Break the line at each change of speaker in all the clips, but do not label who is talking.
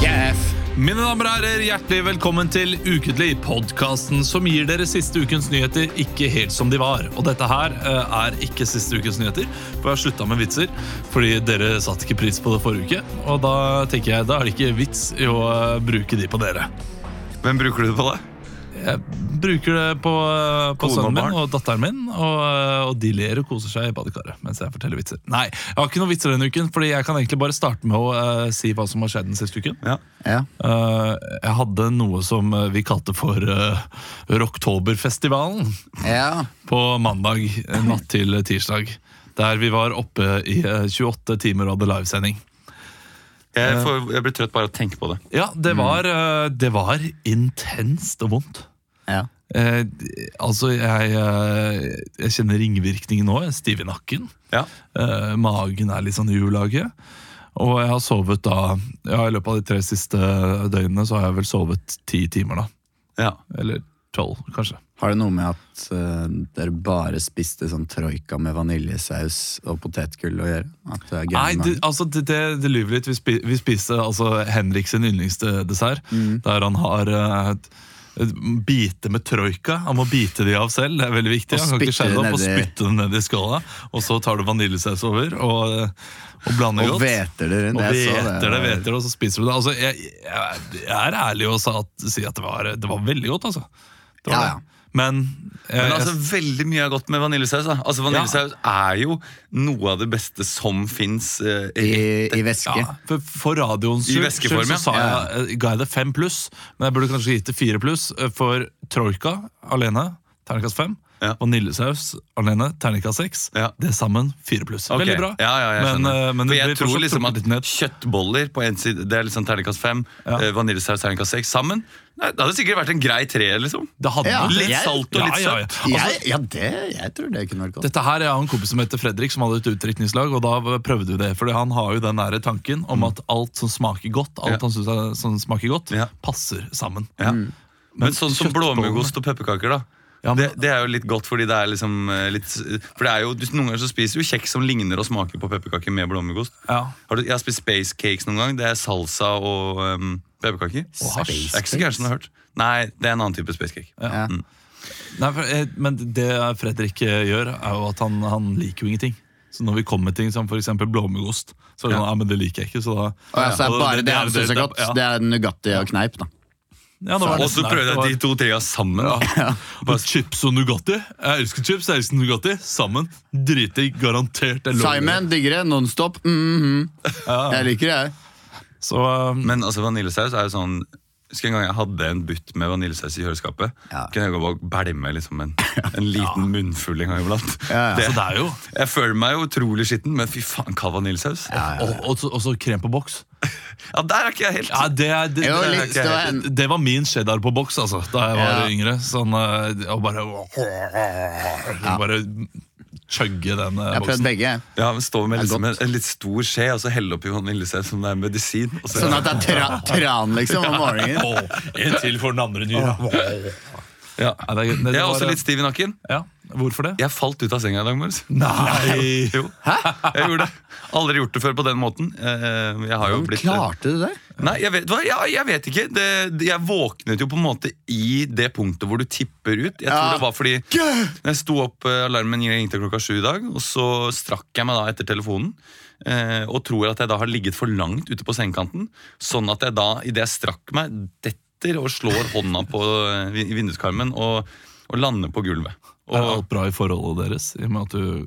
Yes! Mine damer og herrer, hjertelig velkommen til Ukentlig, podkasten som gir dere siste ukens nyheter ikke helt som de var. Og dette her eh, er ikke siste ukens nyheter, for jeg har slutta med vitser. Fordi dere satte ikke pris på det forrige uke, og da tenker jeg da er det ikke vits i å eh, bruke de på dere.
Hvem bruker du det på da?
Jeg bruker det på, eh, på
Kone og
sønnen min
barn.
og datteren min, og, eh, og de ler og koser seg i badekaret mens jeg forteller vitser. Nei, jeg har ikke noen vitser denne uken, fordi jeg kan egentlig bare starte med å eh, si hva som har skjedd den siste uken.
Ja.
Ja.
Eh, jeg hadde noe som eh, vi kalte for uh, Rocktoberfestivalen
ja.
på mandag eh, natt til tirsdag. Der vi var oppe i eh, 28 timer og hadde livesending.
Jeg, får, jeg blir trøtt bare av å tenke på det.
Ja, det var, eh, det var intenst og vondt.
ja.
Eh, altså, jeg, eh, jeg kjenner ringvirkningen nå. Jeg er stiv i nakken.
Ja.
Eh, magen er litt sånn ulaget. Og jeg har sovet da ja, I løpet av de tre siste døgnene så har jeg vel sovet ti timer, da.
Ja.
Eller tolv, kanskje.
Har det noe med at eh, dere bare spiste sånn troika med vaniljesaus og potetgull å gjøre? At det er gøy
Nei,
med
det,
magen?
altså, det, det, det lyver litt. Vi, spi, vi spiste altså, Henrik sin yndlingsdessert,
Mm.
der han har eh, et- et Bite med troika. Han må bite de av selv. Det er veldig viktig.
Og
Han kan ikke
spytte
skjære det opp og
det nedi-
spytte det ned i skåla. Og så tar du vaniljesaus over og, og blander
Og
godt.
hveter det rundt.
Og
jeg så
hveter det,
var-
hveter det, og så spiser du det. Altså, jeg, jeg, jeg er ærlig og sa at, si at det var, det var veldig godt, altså. Det var
Ja, ja.
det. Men, eh,
Men altså, veldig mye er godt med vaniljesaus. Da. Altså, Vaniljesaus er jo noe av det beste som fins.
I,
Eh,
I væske.
Ja, for, for radioens
I
skyld
væskeform,
skyld så sa
ja.
jeg, eh, ga jeg det fem pluss, men jeg burde kanskje gitt det fire pluss. eh, For Troika alene, terningkast fem.
Ja.
Vaniljesaus alene, terningkast seks.
Ja.
Det sammen, fire pluss.
Ok.
Eh, Veldig bra.
Ja, ja, jeg
men,
skjønner.
eh, men
For
det
jeg
blir
tror
fortsatt
liksom at
litt ned.
kjøttboller på en side Det er liksom terningkast fem.
Ja.
eh, Vaniljesaus terningkast seks. Sammen nei, det hadde sikkert vært en grei tre. liksom
Det hadde
Ja,
jo-
Litt
jeg-
salt og
Ja,
litt
ja, ja.
søtt.
jeg, ja, det, jeg tror det kunne vært godt.
Dette her, Jeg har en kompis som heter Fredrik, som hadde et utdrikningslag. Og da prøvde vi det, fordi han har jo den nære tanken om at alt som smaker godt, alt
Mm. Ja.
han synes er, som smaker godt,
Ja.
passer sammen.
Ja. Men sånn som
Mm. kjøttbollene-
blåmuggost og pepperkaker, da.
Ja, men-
det, det er jo litt godt, fordi det er liksom eh, litt For det er jo, du- noen ganger så spiser du kjeks som ligner og smaker på pepperkaker med blåmuggost.
Ja.
Har du, jeg har spist space cakes noen gang. Det er salsa og um, pepperkaker.
Og hasj.
Det er ikke så gærent som du har hørt. Nei, det er en annen type space cake.
Ja.
Nei, for, eh, men det Fredrik eh, gjør, er jo at han, han liker jo ingenting. Så når vi kommer med ting som f.eks. blåmuggost, så er det
Ja.
sånn, ja, men det liker jeg ikke. Så da
Og altså,
Og
bare det
er-
han syns er godt,
Ja.
det er Nugatti og kneip, da.
Ja, det var
Og
nesten
så
der.
prøvde
Det var-
jeg de to trea sammen. da.
ja. Og chips og Nugatti. Jeg elsker chips, jeg elsker Nugatti. Sammen. Dritdigg. Garantert. jeg lover det.
Simon digger det. Nonstop. mhm. Jeg liker det, jeg.
Så eh,
Men altså, vaniljesaus er jo sånn Husker en gang jeg hadde en butt med vaniljesaus i kjøleskapet.
Ja.
Kunne jeg gå og belme liksom en, en liten munnfull en gang iblant.
Ja, ja.
Det-
så det er jo
Jeg føler meg jo utrolig skitten, men fy faen, kald vaniljesaus. Ja.
Og, og, så- og så krem på boks.
der er ikke jeg helt
Ja, det, er, det,
Jo,
det,
litt, det var en-
det var min cheddar på boks altså, da jeg var
Ja.
yngre. Sånn, eh, og bare Bare chugge
Jeg
den eh,
har prøvd
boksen.
begge. jeg.
Ja, men Stå med
Det er
liksom en,
godt.
en litt stor skje og så helle oppi vaniljesaus som det er medisin. Og så,
Sånn at det er tra tran, liksom, om morgenen.
Åh, En til for den andre nyra.
ja.
Ja, det, det, det
Jeg er
var-
også litt stiv i nakken.
ja, Hvorfor det?
Jeg falt ut av senga i dag morges.
Nei!
Jo, jeg gjorde det. Aldri gjort det før på den måten. Eh, Jeg har jo
Hvordan
blitt
klarte du det?
Nei, jeg vet, hva- ja, jeg vet ikke. Det, det- jeg våknet jo på en måte i det punktet hvor du tipper ut. Jeg tror
Ja.
det var fordi jeg sto opp, eh, alarmen ringte klokka sju i dag, og så strakk jeg meg da etter telefonen. eh, Og tror at jeg da har ligget for langt ute på sengekanten, sånn at jeg da, idet jeg strakk meg, detter og slår hånda på eh, vi- vinduskarmen og, og lander på gulvet.
Er
Og,
alt bra i forholdet deres? I og med at du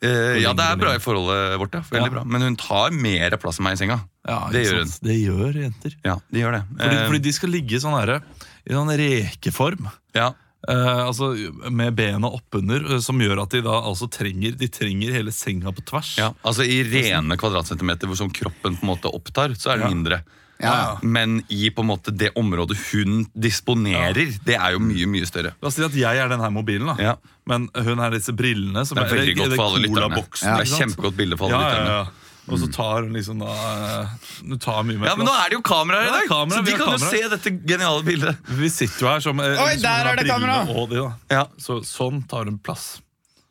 eh, ja, det er
lenge-
bra i forholdet vårt, ja. Veldig
Ja.
bra. Men hun tar mer plass enn meg i senga.
ja,
Det
ikke
gjør
sant? Det gjør jenter.
Ja, de gjør det.
Fordi,
Eh,
fordi de skal ligge i sånn herre I sånn rekeform.
ja.
eh, altså, med bena oppunder, eh, som gjør at de da altså trenger De trenger hele senga på tvers.
Ja, altså I rene kvadratcentimeter hvor som kroppen på en måte opptar, så er
Ja.
det mindre.
Ja, ja.
Men i på en måte det området hun disponerer, det er jo mye mye større.
La oss si at jeg er den her mobilen, da.
Ja.
men hun er disse brillene. Som
Det er veldig
eller-
godt
eller
for alle lytterne.
colaboksen,
Det
ikke
er
sant?
kjempegodt bilde for
ja,
alle
ja,
lytterne. Mm.
ja. Og så tar hun liksom da eh, Hun tar mye mer
Ja, men nå
plass.
er det jo kameraer i
Ja, det er
dag,
kamera, vi
så de
har
kan jo
kamera.
se dette geniale bildet.
Vi sitter jo her som eh,
Oi,
som
der
hun har
er det
brillene
kamera!
Og de, da.
Ja,
Så, sånn tar hun plass.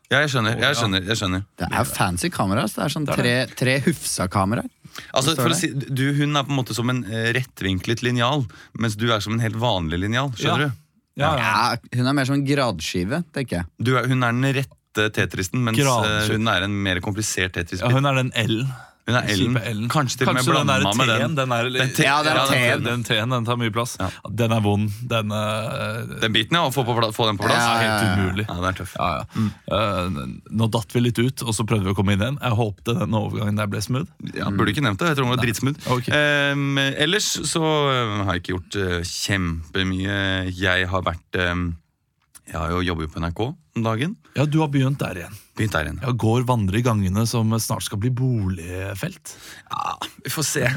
ja jeg skjønner.
Ja.
jeg skjønner, jeg skjønner
Det er fancy kamera. ass. Det er sånn tre, tre hufsa kameraer.
Altså,
Forstår
for å
det.
si, du, Hun er på en måte som en eh, rettvinklet linjal, mens du er som en helt vanlig linjal.
Ja.
Skjønner
Ja, ja.
Ja, hun er mer som en gradskive, tenker jeg.
du? du er, hun er den rette tetristen, mens eh,
Gradskjønt.
hun er en mer komplisert tetris.
Ja,
hun,
hun er den L.
er Ellen.
Kjipe L-en.
Kanskje til og med
Kanskje den
blanda
der
med
T-en,
den.
Den, er,
Den T-
Ja, den
ja,
T-en.
Den T-en den tar mye plass.
Ja.
Den er vond. Den eh,
Den biten, ja. Å få, på pla- få den på plass.
Ja,
er
ja,
helt umulig.
Ja, den er tøff.
Ja, ja.
Mm.
Eh, nå datt vi litt ut, og så prøvde vi å komme inn igjen. Jeg håpte den overgangen der ble smooth.
Ja, burde ikke nevnt det. Jeg tror hun var dritsmooth.
Ok.
Ehm, ellers så eh, har jeg ikke gjort eh, kjempemye. Jeg har vært ehm, Jeg har jo jobbet på NRK om dagen.
Ja, du har begynt der igjen.
Begynt der igjen.
Ja, Går vandre i gangene som snart skal bli boligfelt.
Ja, Ah, vi får se.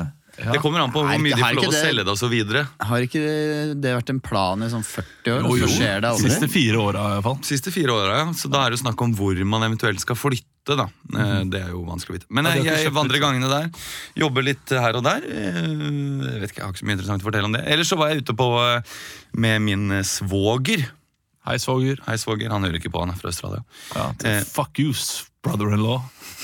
Det kommer an på
Er
hvor
ikke-
mye de
er
får
ikke
lov å
det-
selge det osv.
Har ikke det- det vært en plan i sånn 40 år,
Jo,
og
jo.
så skjer det
Siste
aldri?
fire åra, iallfall.
Siste fire åra, ja. Så da er det jo snakk om hvor man eventuelt skal flytte. da Eh, Det er jo vanskelig å vite. Men
Ja, de
jeg,
har ikke
jeg
kjøpt
vandrer
ut.
gangene der. Jobber litt her og der. Eh, Jeg vet ikke, jeg har ikke så mye interessant å fortelle om det. Ellers så var jeg ute på eh, med min eh, svoger.
Hei, svoger.
Hei, svoger. Han hører ikke på, han er fra Australia.
Ja,
Eh.
fuck you, brother-in-law.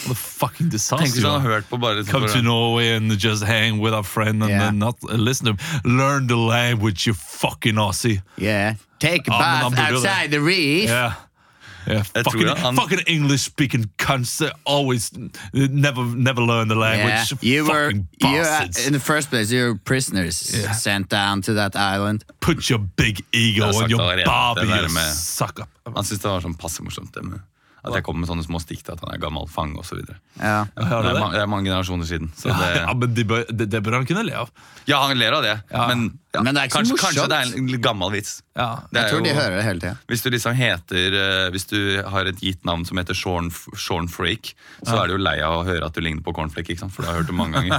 What a fucking
Tenk
disaster.
hvis
you
han
are.
har hørt på bare
Come to Norway and just hang with a friend and
Yeah.
then not listen to him. Learn the language, you fucking Aussie.
Yeah. Take a
Ja, men han
bath
burde jo det.
outside the reef!
Yeah. Yeah,
Jeg tror
fucking,
det, han-
fucking English speaking cunts. They always never never learn the
Yeah.
language.
You were,
fucking
you,
bastards.
in the first place, you were prisoners
Yeah.
sent down to that island.
Put your big ego
har
on
sagt
your
allerede,
bobby,
det der
you
med-
suck up.
Han syntes det var sånn passe morsomt. Det med at jeg kom med sånne små stikk til at han er gammel fang osv. Det,
Ja.
Hører du
er
det?
ma- det er mange generasjoner siden. Så
Ja,
det,
men de bør, det, det bør han kunne le av.
ja, han ler av det,
Ja.
men, ja,
Men det er ikke så
kanskje,
morsomt.
kanskje det er en litt gammel vits.
Ja.
Det
Jeg
er
tror de
jo-
hører det hele tida.
Hvis du liksom heter eh, Hvis du har et gitt navn som heter Sean, F- Sean Freak, så er du jo lei av å høre at du ligner på Cornflake, ikke sant? for du har hørt det mange ganger.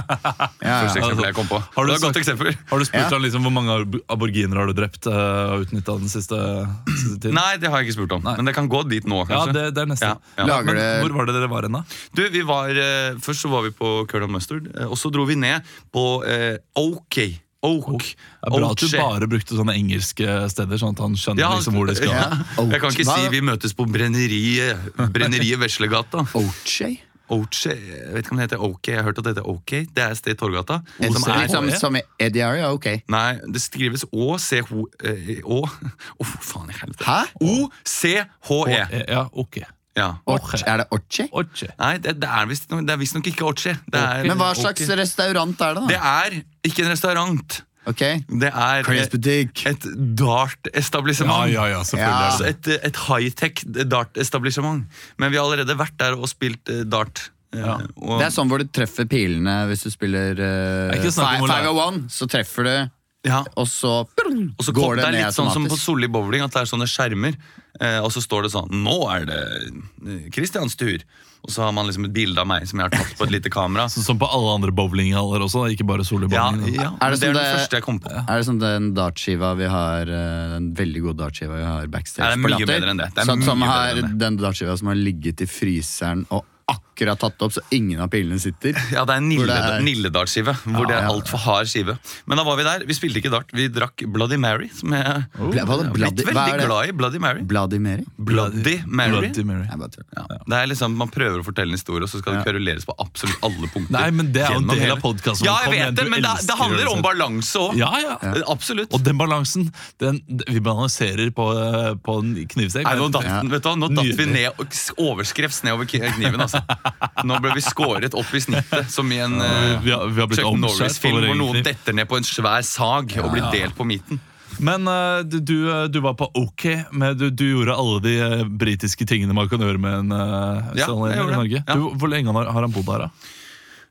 Ja,
Første
ja.
eksempel jeg kom på.
Har du
det var et
sagt-
godt eksempel.
Har du spurt
Ja.
han liksom hvor mange ab- aboriginer har du drept eh, og utnytta den siste, siste tiden?
Nei, det har jeg ikke spurt om,
Nei.
men det kan gå dit nå,
Ja,
kanskje.
det, det er nesten.
Ja, ja.
Lager
Men
det-
hvor var det dere var hen, da?
Du, vi var, eh, Først så var vi på Curl and Mustard, eh, og så dro vi ned på eh, OK. Oak.
Det er bra at du
Oche.
bare brukte sånne engelske steder, sånn at han skjønner
Oh, Ja,
liksom hvor de skal.
ja. Jeg kan ikke
Hva-
si vi møtes på Brenneriet Brenneriet Veslegata.
Oche?
Oche, jeg vet ikke om det heter OK. Jeg har hørt at det heter OK. Det er et sted i Torgata.
Et-
som er-
Litt som, som i Eddie Aria? Ok.
Nei, det skrives Å-C-H-Å Å, oh, faen i helvete.
Hæ? E.
O-C-H-E.
eh, Ja, ok.
E. Ja.
Orche. Er det Orche?
Oche.
Nei, det, det er visstnok visst nok ikke Oche. Det er,
Men hva slags
Ok.
restaurant er det,
Det
da?
er ikke en restaurant.
Ok
Det er Eh,
Crispy Dick.
et
Ja,
dart-establishement.
ja, ja, selvfølgelig
Ja.
er det det.
Altså et, et high-tech dart-establishment. Men vi har allerede vært der og spilt eh, dart. Eh,
Ja.
Og,
Det er sånn hvor du treffer pilene hvis du spiller eh,
Det er ikke snakk om å
Fi-
lære.
501. Så treffer du,
ja.
og så
og så kom,
går
det,
det
er
ned
litt sånn som på
automatisk.
Solli bowling, at det er sånne skjermer. Eh, og så står det sånn Nå er det eh, Christians tur. Og så har man liksom et bilde av meg som jeg har tatt på et lite kamera.
Så, Sånn som på alle andre bowlinghaller også, da, ikke bare
Ja,
solibowling.
ja,
Er
er
det
det, det
som
er den
det-
første jeg kom på.
Er det sånn den dartskiva vi har eh, Den veldig gode dartskiva vi har backstage
Ja, det er
på
mye
Latter?
bedre enn det. Det er
sånn, som
mye
har,
bedre enn
den dartskiva som har ligget i fryseren og akkurat tatt opp, så ingen av pilene sitter.
Ja, det er en
Hvor det
Nille,
er-
Nilledalsskive. Hvor det
Ja,
er
ja.
altfor hard skive. Men da var vi der. Vi spilte ikke dart. Vi drakk Bloody Mary. Som jeg
Bla- hva er det?
jeg har blitt
Oh. Bloody- hva er
veldig
det?
glad i. Bloody Mary.
Bloody Mary?
Bloody Mary.
Bloody Mary.
Jeg bare tuller.
Ja. Det er liksom, Man prøver å fortelle en historie, og så skal det kveruleres på absolutt alle punkter.
Nei, men det er jo en
gjennom
del av
hele-
podcasten.
Ja,
Kom
jeg
igjen,
vet det,
du
men det,
elsker
det handler
å
om
gjøre
balanse òg.
Ja, ja.
Absolutt.
Og den balansen, den, vi balanserer på, eh, på en knivsegg.
Nei, nå
men-
datt,
Ja.
vet du, hva, nå datt vi
Nydelig.
ned og s- overskrevs nedover ki- kniven, altså. Nå ble vi skåret opp i snittet, som i en eh,
vi, har, vi har blitt
Chuck
omskjært. på
Norris-film
vår
hvor
egen
noen
kniv.
detter ned på en svær sag og blir delt på midten.
Men eh, du, du, eh, du var på OK, men du, du gjorde alle de eh, britiske tingene man kan gjøre med en uh,
Ja, jeg
i
gjorde det.
Norge.
Ja.
Du, hvor lenge har, har han bodd her, da?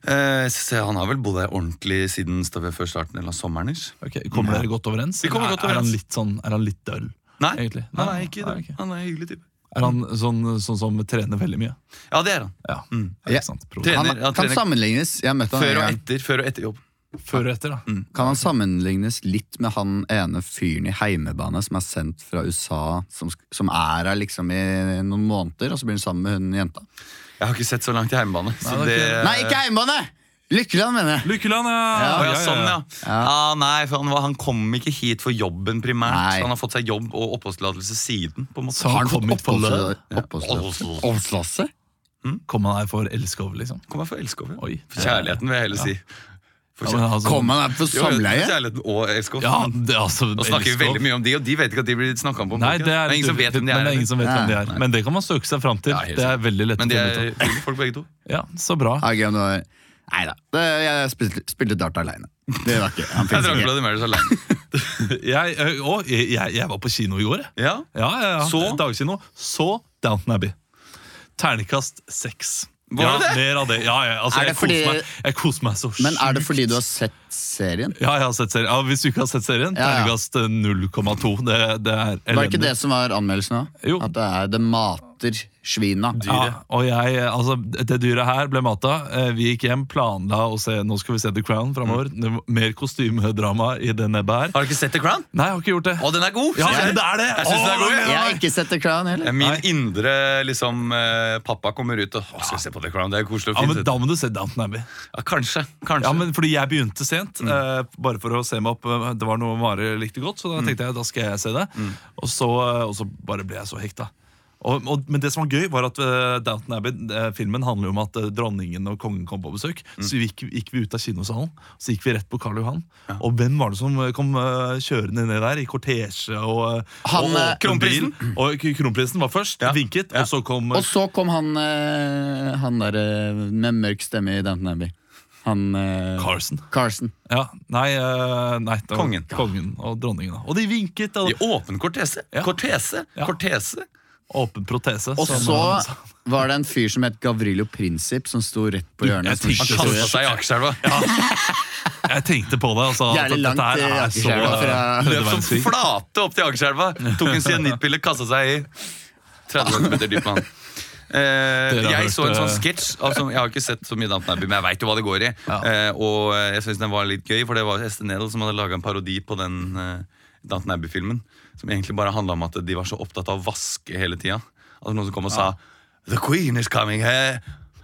Eh, så så han har vel bodd her ordentlig siden sta- før starten eller sommeren. ish.
Ok, kommer dere godt overens?
Vi kommer
Eller
godt
Er, er han
overens.
litt sånn, er han litt døll?
Nei,
egentlig.
han er ikke
nei,
det.
ok.
Han er en hyggelig type.
Er han sånn, sånn som trener veldig mye?
Ja, det er han.
Ja,
Mm.
er
Ja.
ikke sant? Pro-
Trener-
Han
han
kan
trener-
sammenlignes Jeg har møtt han en
Før og
gang.
etter, før og etter jobb.
Før og etter, da.
Mm.
Kan han sammenlignes litt med han ene fyren i heimebane som er sendt fra USA, som, sk- som er her liksom i noen måneder, og så blir han sammen med hun jenta?
Jeg har ikke sett så langt i hjemmebane. så
det er ikke-
det,
Nei, ikke heimebane! Lykkeland, mener jeg!
Lykkeland, ja!
Å,
Ja,
ja,
ja,
sånn, ja.
ja.
Ja.
Ah, nei, for han, var, han kom ikke hit for jobben primært.
Nei.
Så han har fått seg jobb og oppholdstillatelse siden. på en måte.
Så han Sånn kom hit for lønn?
oppholdstillatelse? Oppholdstillatelse? Oppholdstillatelse?
Kom han her for elskov, liksom?
Kom her for elskov, ja.
Oi.
For kjærligheten, vil jeg heller si. For
Ja, men altså-
Kom han her for
Jo, jo, for
samleie?
kjærligheten og elskov.
Ja, det, er altså,
Nå snakker vi veldig mye om de, og de vet ikke at de blir snakka om på en
Nei,
podcast.
det er,
det er ingen som vet hvem de
men
er.
det er ingen som vet hvem de er.
Nei.
Men det kan man søke seg fram til.
Ja, helt
det er veldig lett
Men de
å
er
finne ut av.
hyggelige folk, begge to.
Ja, så bra.
Ja, gøy om det var Nei da. Det- Jeg spilte, spilte dart aleine. Det var ikke Han finnes
Jeg drakk
ikke.
Bloody Marys alene.
Jeg, ø, å, jeg, jeg, jeg var på kino i går, jeg.
Ja.
Ja, ja, ja.
Så?
Dagkino. Så Downton Abbey. Ternekast seks.
Var
ja,
det det?
Mer av det. Ja, ja, altså,
Er det
jeg, koser
fordi-
meg, jeg koser meg så sjukt.
Men er det fordi du har sett serien?
Ja, jeg har sett serien. Ja, hvis du ikke har sett serien,
Ja, ja.
ternekast eh, 0,2. Det, det er elendig.
Var det ikke det som var anmeldelsen òg?
Jo.
At det, er, det mater svina.
Ja, og jeg, altså, det dyret her ble mata. Eh, Vi gikk hjem, planla å se Nå skal vi se The Crown framover.
Mm.
Mer kostymedrama i det nebbet her.
Har du ikke sett The Crown?
Nei, jeg har ikke gjort det.
Å, den er god!
Ja,
synes jeg.
det er det!
Jeg synes den er god,
Å,
ja.
Jeg har ikke sett The Crown heller.
Min indre liksom, eh, pappa kommer ut og å, 'Skal vi se på The Crown?' Det er koselig og
Ja,
fint.
men
vet du.
Da må du se Downton Abbey.
ja, kanskje. kanskje.
Ja, men fordi jeg begynte sent, eh, bare for å se meg opp. eh, Det var noe Mari likte godt, så da tenkte jeg da skal jeg se det. Og, så, eh, og så bare ble jeg så hekta. Og, og, men det som var gøy, var at eh, Downton Abbey-filmen handler jo om at eh, dronningen og kongen kom på besøk. Så vi gikk, gikk vi ut av kinosalen, så gikk vi rett på Karl Johan. Og hvem var det som eh, kom eh, kjørende ned der i kortesje og, eh,
Han,
og
eh,
åpen bil? Og k- kronprinsen var først,
Ja.
vinket,
Ja.
og så kom
Og så kom han, eh, han der eh, med mørk stemme i Downton Abbey. Han eh,
Carson.
Carson.
Ja, nei, eh, nei det var
Kongen.
kongen og dronningen. da. Og de vinket. Og,
I åpen kortese.
Ja.
Kortese!
Ja.
Kortese!
Åpen protese.
Og
som
så
han sa.
var det en fyr som het Gavrilo Prinsip, som sto rett på hjørnet.
jeg sånn.
som
tenkte-
Han
skytte-
Det tror jeg.
kasta seg i Akerselva. Ja,
Jeg tenkte på det. altså. at
Jævlig
dette
langt
her
til
er så,
Akerselva
eh,
fra-
tredje
Løp som
verdenskrig.
flate opp til Akerselva. Tok en cyanidpille, kasta seg i. 30 cm dyp med han. Eh,
Dere har
jeg
hørt,
så en sånn
eh,
sketsj. Altså, jeg har ikke sett så mye Downton Abbey, men jeg veit jo hva det går i.
Ja.
Eh, og eh, jeg syns den var litt gøy, for det var Estenel som hadde laga en parodi på den eh, Downton Abbey-filmen. Som egentlig bare handla om at de var så opptatt av å vaske hele tida. Altså, noen som kom og sa The Queen is coming here.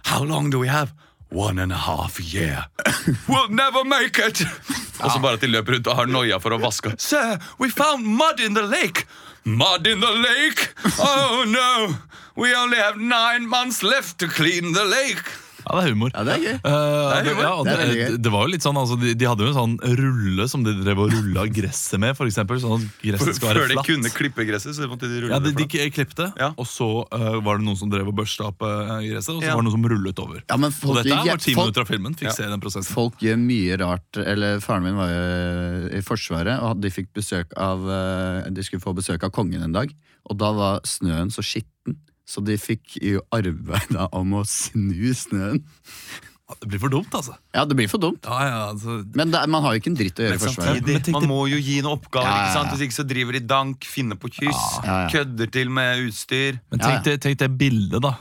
How long do we have? One and a half year. We'll never make it! Og så bare at de løper rundt og har noia for å vaske. Sir, we found mud in the lake! Mud in the lake! Oh no! We only have nine months left to clean the lake!
Ja, det er humor.
Ja, det er gøy.
Eh,
Det er
det,
humor.
ja, og
Det er
det,
veldig gøy.
det var jo litt sånn, altså, de, de hadde jo en sånn rulle som de drev og rulla gresset med. For eksempel, sånn at gresset skal
Før
være
de kunne
flatt.
klippe gresset, så måtte de rulle
Ja, De,
det
de
flatt.
klipte,
Ja.
og så eh, var det noen som drev og børsta opp eh, gresset. Og så
Ja.
var det noen som rullet over.
Ja, men
og
folk,
dette her
gjør-
var ti
folk,
minutter av filmen. Fikk
Ja.
se den prosessen.
folk gjør mye rart. Eller Faren min var jo i Forsvaret, og de fikk besøk av eh, De skulle få besøk av kongen en dag, og da var snøen så skitten. Så de fikk jo arbeida om å snu snøen.
Ja, Det blir for dumt, altså.
Ja, det blir for dumt.
Ja, ja, altså.
Men det, er- man har jo ikke en dritt å gjøre i Forsvaret.
Men tenk
Man
deg-
må jo gi noen oppgaver,
Ja, ja, ja.
ikke sant? hvis ikke så driver de dank, finner på kyss,
Ja, ja.
kødder til med utstyr.
Ja,
Men
ja.
tenk, det- tenk det bildet, da.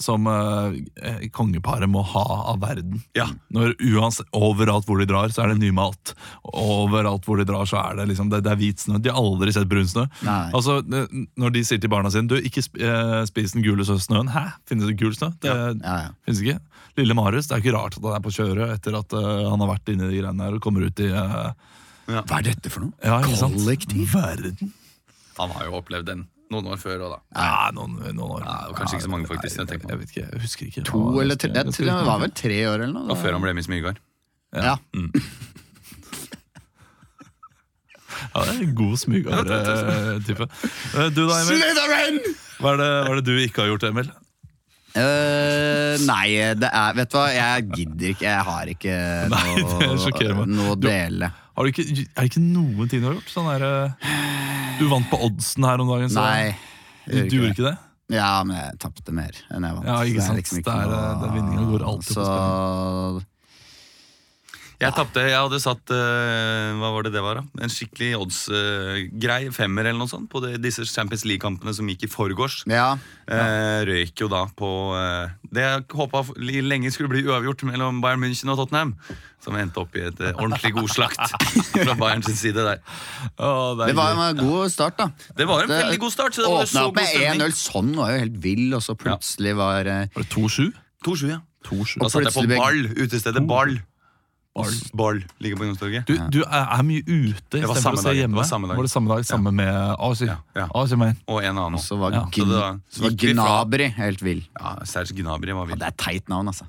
Som eh, kongeparet må ha av verden.
Ja.
Når uansett, Overalt hvor de drar, så er det nymalt. Overalt hvor de drar, så er det liksom Det, det er hvit snø. De har aldri sett brun snø.
Nei.
Altså, n- Når de sier til barna sine Du, ikke sp eh, spis den gule sø- snøen. Hæ? Finnes det gul snø? Det
Ja, ja.
finnes ikke. Lille Marius, det er ikke rart at han er på kjøret etter at eh, han har vært inne i de greiene her og kommer ut i eh,
Hva er dette for noe?
ja, ikke sant?
Kollektiv?
Verden.
Han har jo opplevd den noen år før òg, da.
Ja, noen, noen år.
Ja, og kanskje ikke så mange, faktisk,
Nei,
når jeg tenker på
jeg vet ikke, jeg husker ikke.
To eller tre? Jeg tror det var vel tre år eller noe.
Og før han ble Miss Mygard.
Ja.
Ja, det er en god smygare-type. Eh, Du da, Emil?
Slytherin!
Hva er, det, hva er det du ikke har gjort, Emil?
Eh, nei, det er Vet du hva, jeg gidder ikke. Jeg har ikke
Nei, det sjokkerer
noe,
meg.
noe å
Du-
dele.
Har du ikke, er det ikke noen ting du har gjort? Sånn er, eh, du vant på oddsen her om dagen. Så
Nei.
Altså,
jeg
du du
gjør
gjorde
ikke det.
ikke det?
Ja, men jeg tapte mer enn jeg vant.
Ja, ikke eh,
Så det er
sant. Det er,
noe-
eh, den vinningen går alltid på
Så
Jeg tapte. Jeg hadde satt eh, hva var det det var da? en skikkelig odds-grei, femmer eller noe sånt, på de, disse Champions League-kampene som gikk i forgårs.
Ja,
Eh, røyk jo da på eh, det jeg håpa lenge skulle bli uavgjort mellom Bayern München og Tottenham, som endte opp i et eh, ordentlig god slakt fra Bayerns side der.
Å, det er
det var
gøy.
en god start, da.
Det var en veldig god start. Så det var
Åpna
så
opp
god
med 1-0.
stemning.
Sånn var jo helt vill, og så plutselig var eh,
Var det 2-7?
2-7, ja. Da
Og
satt jeg på
plutselig-
Ball, utestedet Ball.
Ball.
Ball ligger på Youngstorget.
Du, du er, er mye ute
var
istedenfor å
samme
se
dag, det
hjemme.
var samme dag.
Var det samme dag? Samme med Asi.
Ja, ja.
Asi man.
Og en annen.
Og
også.
så var,
Ja,
Gn
så da
så var
gikk vi fra-
Gnabry helt vill.
Ja, Serge Gnabry
Ja,
var vill.
det er teit navn, altså.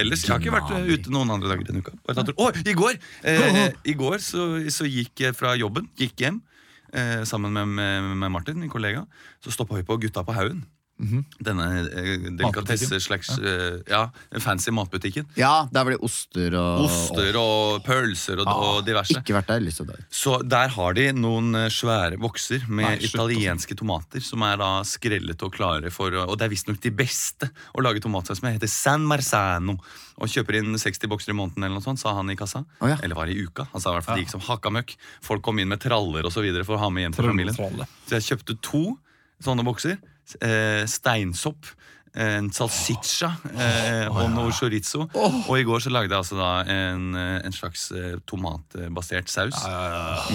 Ellers, Jeg har ikke vært eh, ute noen andre dager denne uka. Bare tatt tur. Å, i går! Eh, I går så, så gikk jeg fra jobben, gikk hjem, eh, sammen med, med, med Martin, min kollega. Så stoppa vi på Gutta på haugen. Denne eh, delikatesse
Matbutikken.
slags eh, Ja, fancy matbutikken.
Ja, der var det oster og
Oster og pølser og, og diverse.
Ikke vært der, lyst til å dra ut.
Så der har de noen eh, svære vokser med
Nei, slutt,
italienske tomater som er da skrellet og klare for å- Og det er visstnok de beste å lage tomatsaus med. Heter San Marzano. Og kjøper inn 60 bokser i måneden, eller noe sånt, sa han i kassa.
Å, ja.
Eller var det i uka. Han sa i hvert fall det gikk som hakka møkk. Folk kom inn med traller og så videre for å ha med hjem til familien.
Tralle.
Så jeg kjøpte to sånne bokser. Eh, steinsopp. eh, En salsiccia eh, og noe chorizo. Og i går så lagde jeg altså da en, eh, en slags eh, tomatbasert saus.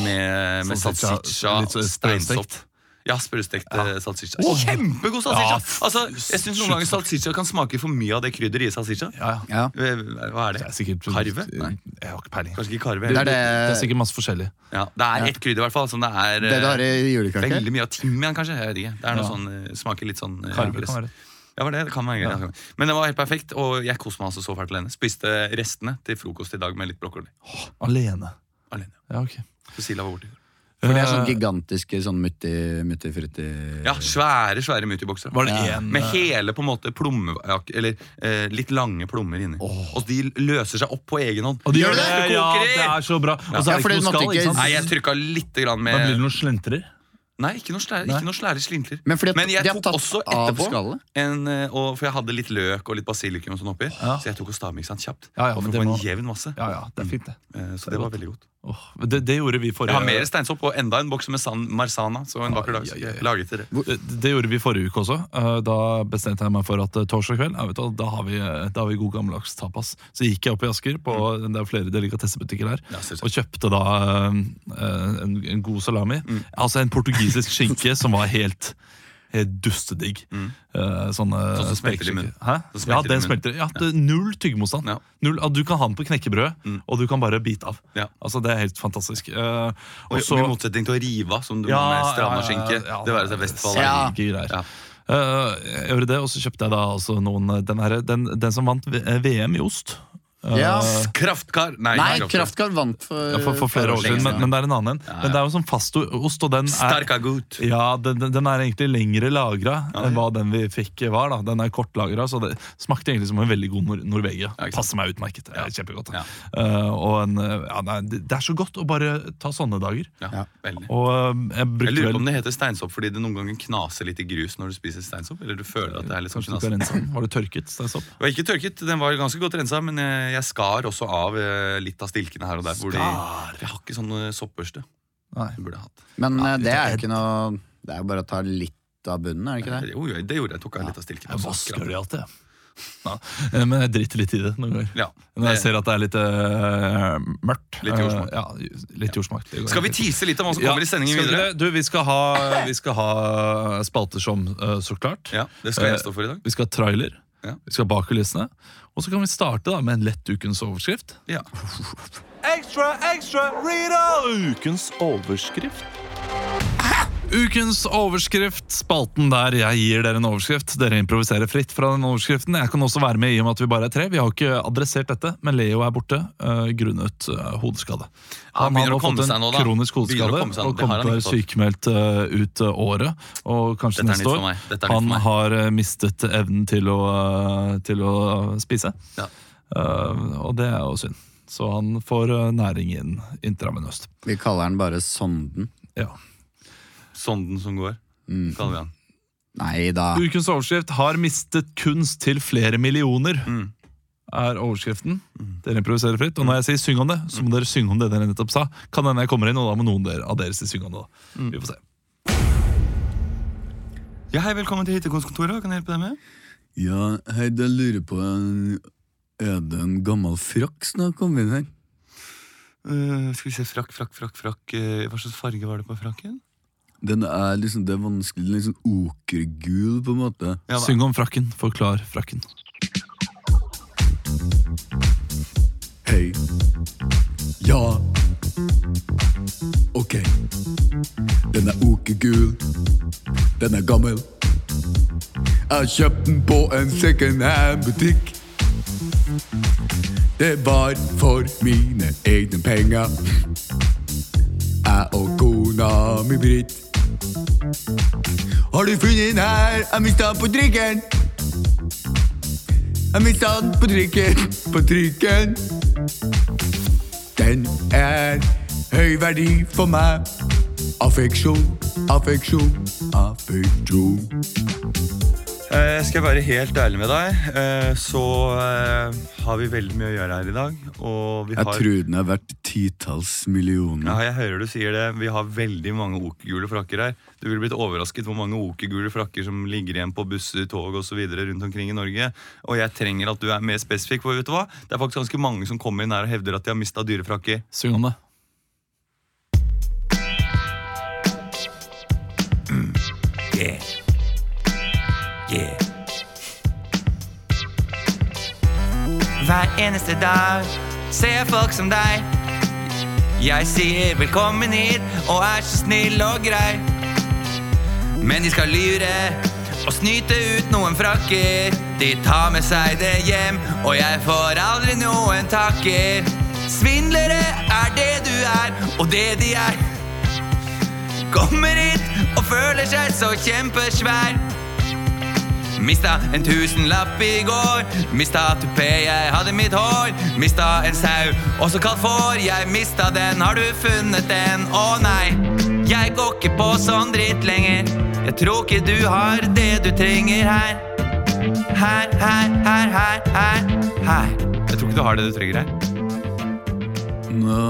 Med, med
Salsiccia,
salsiccia
Sånn litt så
og steinsopp.
sprøstekt.
Ja, sprøstekt eh, salsiccia. Kjempegod
Ja,
salsiccia!
f-
Altså, jeg syns noen ganger salsiccia kan smake for mye av det krydderet i salsiccia.
Ja, ja.
Ja.
Eh, Hva er
Det
det?
er sikkert
Karve? Nei,
Jeg har ikke peiling.
kanskje ikke karve.
Det
heller.
er det,
Det er sikkert masse forskjellig.
Ja, det er ett krydder i hvert fall som det er
det du har i
eh,
julekake.
Veldig mye av timian, kanskje. Jeg vet ikke. Det er noe
Ja.
sånn, eh, smaker litt sånn eh,
Karve
gress.
kan være det.
Ja, var det, det kan være greit. Men det var helt perfekt, og jeg koste meg altså så fælt alene. Spiste restene til frokost i dag med litt brokkoli.
Alene.
Alene.
Ja, ok.
Cecilia var borte.
For det er sånn
Eh,
gigantiske sånn mutti- mutti-frutti
Ja, svære, svære mutibokser.
Var det
Ja.
en eh,
Med hele på en måte plomme... Eller eh, litt lange plommer inni. Og de løser seg opp på egen hånd.
Og de gjør det!
Koker
Ja,
i!
det er så bra. Og så
Ja,
er
for
det
det
ikke noe
måtte
skall,
ikke-
ikke
Nei, jeg
sant?
trykka litt grann
Da blir
med
det noen slentrer.
Nei, ikke noe slære,
Nei.
ikke noe slære slintrer.
Men fordi at
Men jeg
de har
tok
tatt
også
av
etterpå
skallet?
en, eh, og, For jeg hadde litt løk og litt basilikum og sånn oppi.
Ja.
Så jeg tok og stavmiksa den kjapt.
Ja, ja,
og
men det
for å få
må-
en jevn masse.
Ja, ja, det er fint, det.
Eh,
er
så det var
godt.
veldig godt.
Åh, det, det gjorde vi
Jeg har mer
forrige
steinsopp og enda en boks med San Marzana. Så en vakker dag
Ai, ai, ai.
laget dere
det, det gjorde vi forrige uke også. Eh, Da bestemte jeg meg for at eh, torsdag kveld ja, vet du, hva, da, har vi, eh, da har vi god gammeldags tapas. Så gikk jeg opp i Asker, på, det er flere delikatessebutikker her,
Mm. Ja, selvsagt.
og kjøpte da eh, en, en god salami.
Mm.
Altså en portugisisk skinke som var helt Helt dustedigg. Eh, Sånne
Mm. Sånn som smelter i
spekeskinker.
munnen. Sånn
Hæ?
Som
Ja,
smelter i
det
munnen.
smelter. Ja, det, null tyggemotstand.
Ja. Mm.
Null, ah, du kan ha den på knekkebrød, og du kan bare bite av.
Ja.
Altså, Det er helt fantastisk. Eh,
Og
og så-
I motsetning til å rive av, som du må med stramma skinke. det være seg Vestfold.
Ja.
Ja. det er greier. Eh, jeg gjorde det, og så kjøpte jeg da altså noen eh, Den, her, den, den som vant V- eh, VM i ost. Eh,
Ja.
Kraftkar! Nei,
Nei,
ikke
Kraftkar vant for,
ja, for, for flere år siden, men, men det er en annen en.
ja.
Men det er jo sånn fastoost, og den er
Starkagut.
ja, den, den- den er egentlig lengre lagra
Ja,
enn
ja.
hva den vi fikk var. da Den er kort lagra, så det smakte egentlig som en veldig god nor Norvegia.
Ja, ikke sant.
Passer meg utmerket. Det
Ja.
er kjempegodt
Ja.
Eh, og en, eh, ja, nei, det det er så godt å bare ta sånne dager.
Ja,
Ja.
veldig.
Og eh, jeg
Jeg
brukte
lurer på
vel
om det heter steinsopp fordi det noen ganger knaser litt i grus når du spiser steinsopp. Eller du føler at det er litt sånn
Kanskje du ikke har
knas.
renset den? Var det tørket? Steinsopp?
Det var ikke tørket, den var ganske godt rensa, men eh, jeg skar også av eh, litt av stilkene her og der. Hvor de,
Skar.
jeg har ikke sånn eh, soppbørste.
Nei.
Jeg burde hatt.
Men eh, det er jo ikke noe Det er jo bare å ta litt av bunnen, er det ikke det?
Jo, jo, det gjorde jeg. Tok av litt av stilkene.
Jeg
og så
vasker
skrapet.
det alltid, jeg. Ja. eh, Men jeg driter litt i det noen ganger.
Ja,
Når jeg
det-
ser at det er litt eh, mørkt.
Litt jordsmak.
Eh, ja, litt jordsmak. Det går
Skal vi
helt fint.
tease litt om hva som
Ja,
kommer i sendingen
skal vi
videre?
det? Du, vi skal ha, vi skal ha spalter som eh, Så klart.
Ja, Det skal jeg
Eh.
stå for i dag.
Vi skal ha trailer.
Ja.
Vi skal bak kulissene. Og så kan vi starte da med en lett ukens overskrift.
Ja.
Ekstra, ekstra,
Ukens overskrift.
Ukens overskrift, spalten der jeg gir dere en overskrift. Dere improviserer fritt fra den overskriften. Jeg kan også være med i og med at vi bare er tre. Vi har ikke adressert dette, men Leo er borte øh, grunnet øh, hodeskade. Han,
begynner
har
å komme
fått en
seg nå, da.
kronisk
Begynner å
hodeskade
komme seg nå.
og
Det har
kommer
han
til å være
ikke fått.
sykemeldt øh, ut øh, året og kanskje
Dette er nytt
neste
for
år.
meg. Dette er nytt
Han
for meg.
har øh, mistet evnen til å, øh, til å spise,
Ja.
Øh, og det er jo synd. Så han får øh, næring inn intravenøst.
Vi kaller den bare Sonden.
Ja.
Sonden som går,
Mm.
kaller vi han.
Nei da.
Mm.
Ukens overskrift har mistet kunst til flere millioner. er overskriften. Dere improviserer fritt. Og når jeg sier syng om det, så må dere synge om det dere nettopp sa. Kan hende jeg kommer inn, og da må noen dere- av dere si synge om det. da.
Mm.
Vi får se.
Ja, hei, velkommen til Hittekunstkontoret. Hva kan jeg hjelpe deg med?
Ja, hei, jeg lurer på Er det en gammel frakk som har kommet inn her?
Eh, skal vi se, frakk, frakk, frakk, frakk. Eh, hva slags farge var det på frakken?
Den er liksom, det er vanskelig, den er liksom okergul på en måte.
Ja, hva-
Syng om frakken. Forklar frakken.
Hei. Ja. Ok. Den er okergul. Den er gammel. Jeg har kjøpt den på en secondhand-butikk. Det var for mine egne penger. Jeg og kona mi Britt. Har du funnet den her? Jeg mista den på trikken. Jeg mista den på trikken, på trikken. Den er høy verdi for meg. Affeksjon, affeksjon, affeksjon.
Eh, skal jeg være helt ærlig med deg, eh, så eh, har vi veldig mye å gjøre her i dag. Og vi har,
den er verdt titalls
Ja,
millioner.
jeg hører du sier det. Vi har veldig mange okergule frakker her. Du ville blitt overrasket hvor mange okergule frakker som ligger igjen på busser, tog osv. rundt omkring i Norge. Og jeg trenger at du er mer spesifikk, for vet du hva? Det er faktisk ganske mange som kommer inn her og hevder at de har mista dyrefrakker.
Syng om det.
Hver eneste dag ser jeg folk som deg. Jeg sier velkommen hit og er så snill og grei. Men de skal lure og snyte ut noen frakker. De tar med seg det hjem, og jeg får aldri noen takker. Svindlere er det du er, og det de er. Kommer hit og føler seg så kjempesvær. Mista en tusenlapp i går. Mista tupé, jeg hadde mitt hår. Mista en sau, også kalt får. Jeg mista den, har du funnet den? Å nei, jeg går ikke på sånn dritt lenger. Jeg tror ikke du har det du trenger her. Her, her, her, her, her. her.
Jeg tror ikke du har det du trenger her.
Nå,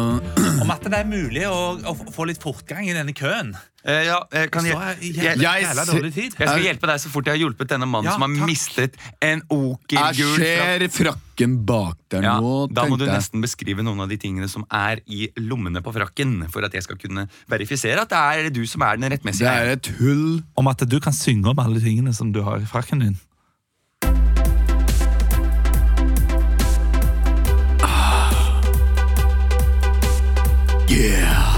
Om at det er mulig å, å få litt fortgang i denne køen.
Eh, ja, eh, kan
Så
jeg,
er
jeg,
jævla,
jeg
jævla dårlig tid.
skal hjelpe deg så fort jeg har hjulpet denne mannen
Ja,
som har
takk.
mistet en
jeg
okergul frakk.
ser frakken bak der
Ja,
nå,
da må du
tenkte jeg.
nesten beskrive noen av de tingene som er i lommene på frakken, for at jeg skal kunne verifisere at det er du som er den
Det
rettmessige
er
eieren.
et hull.
Om at du kan synge om alle tingene som du har i frakken din.
Yeah.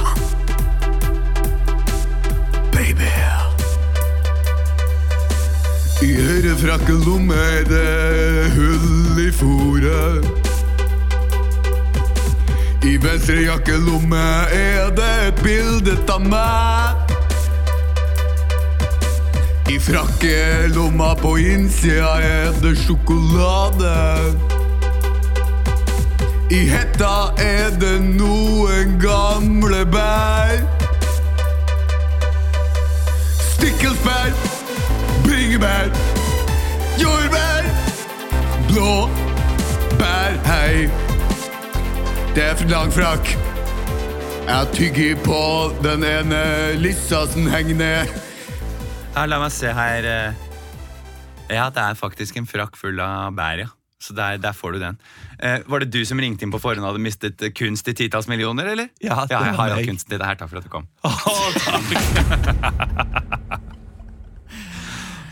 Baby. I ørefrakkelomme er det hull i fòret. I venstre jakkelomme er det et bilde av meg. I frakkelomma på innsida er det sjokolade. I hetta er det noen gamle bær. Stikkelsbær, bringebær, jordbær, blå bær. Hei, det er for lang frakk. Jeg tygger på den ene lissa som henger ned.
Ja, la meg se her. eh. Ja, det er faktisk en frakk full av bær, ja. Så der, der får du den. Eh, var det du som ringte inn på forhånd og hadde mistet eh, kunst i titalls millioner, eller?
Ja, det
jeg
var
har
meg.
jo kunsten i det her. Takk for at du kom.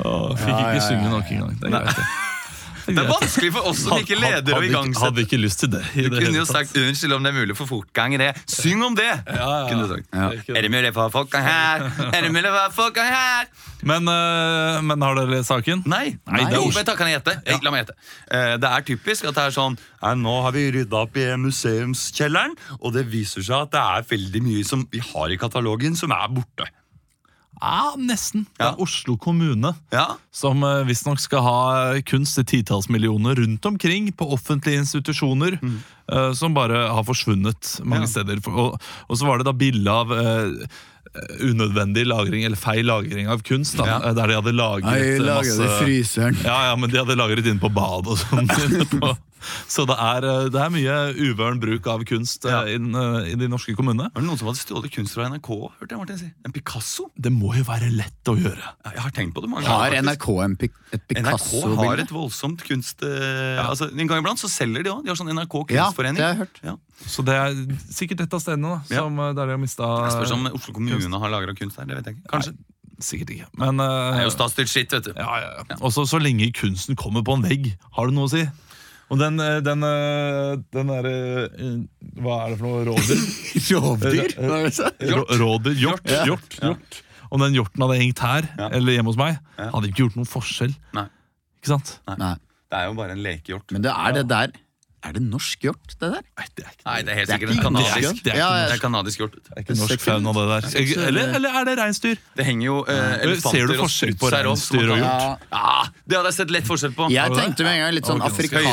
Å, fikk ikke synge nok engang. Det er greit, det.
Det er vanskelig for oss som ikke leder
Hadde-
og
hadde ikke-
igangsetter.
Hadde ikke lyst til det. i
Du
det
kunne
hele
jo
tatt.
sagt unnskyld om det er mulig for fortgang i det. Syng om
ja,
det!
ja.
Kunne du sagt.
Det er ikke det.
Er det mulig for fortgang her? Er det mulig for fortgang her?
Men, eh, men har dere lest saken?
Nei.
Nei, det er
Jo,
Oslo.
vent da, kan jeg gjette? Eh, La meg gjette. Eh, Det er typisk at det er sånn «Nei, Nå har vi rydda opp i museumskjelleren, og det viser seg at det er veldig mye som vi har i katalogen, som er borte.
Ja, nesten. Det
Ja.
er Oslo kommune.
Ja,
Som eh, visstnok skal ha kunst i titalls millioner rundt omkring på offentlige institusjoner. eh, Som bare har forsvunnet mange
Ja.
steder. For- Og, og så var det da bilde av eh, unødvendig lagring, eller feil lagring av kunst. Da,
Ja.
eh, Der de hadde lagret eh, masse
fryseren.
ja, ja, men de hadde lagret inne på badet og sånn. inne på, Så det er, eh, det er mye uvøren bruk av kunst eh, inn, eh, i de norske kommunene.
Var det noen som hadde stjålet kunst fra NRK? hørte jeg Martin si. En Picasso?
Det må jo være lett å gjøre.
Ja, Jeg har tenkt på det mange
Har
ganger, faktisk.
NRK en Pic- et
NRK har
Picasso-bilde?
et voldsomt kunst... eh, altså, en gang iblant så selger de òg. De har sånn NRK
Ja, det
kunstforening.
har jeg hørt.
Ja.
Så det er sikkert et av stedene da,
Ja.
som, eh, der de har mista
Jeg spørs om Oslo kommune har lagra kunst der. det vet jeg ikke. Kanskje.
Sikkert ikke. Men eh,
Det er jo statsstyrt skitt, vet du.
Ja, ja, ja. Også så lenge kunsten kommer på en vegg, har det noe å si. Og den, eh, den, eh, den derre eh, Hva er det for noe? Rådyr?
Rovdyr? Hva er det du sa?
Hjort. Rådyr. Hjort. Hjort. hjort, Om den hjorten hadde hengt her, eller hjemme hos meg, hadde ikke gjort noen forskjell.
Nei.
Ikke sant?
Nei,
Det er jo bare en lekehjort.
men det er det der. Er det norsk hjort, det der?
Nei, det er ikke,
Nei, det er helt
Det er
sikkert en
ikke
kanadisk.
norsk.
Det er,
Ja,
ikke-
ja.
det er kanadisk hjort. vet du.
det er ikke
Det er
norsk
ikke-
fauna, det der.
ikke så-
Eller, eller er det reinsdyr?
Det henger jo eh,
Ser du
elefanter og
forskjell på
struts her også, som
reinsdyr
man
og
kan-
hjort?
Ja, det hadde jeg sett lett forskjell på.
Jeg tenkte med en gang litt sånn
Høyere panne.
afrikansk,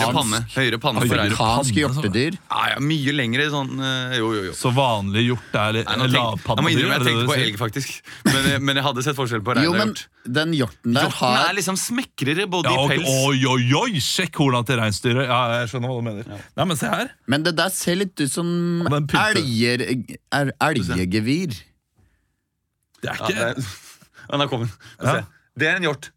Høyere panne altså. for rein.
afrikansk
Høyre panne,
hjortedyr.
Ja, ja, mye lengre sånn eh, Jo, jo, jo.
Så vanlig hjort er litt
Nei, nå tenk, jeg må
lavpannedyr? Eh, er
innrømme jeg
det det du
tenkte på
sier?
elg, faktisk. Men, eh, men jeg hadde sett forskjell på rein
Jo,
og
men
hjort.
den hjorten der
Hjorten
har
er liksom smekrere
Ja,
både i
ok.
pels
Oi, oi, oi! Sjekk horna til reinsdyret. Ja, jeg skjønner hva du mener. Nei, men se her.
Men det der ser litt ut som
Ja, men pynte.
elger, er, elgegevir.
Det er
Ja,
ikke
det er- Ja, der kom den. Få
Ja.
se. Det er en hjort.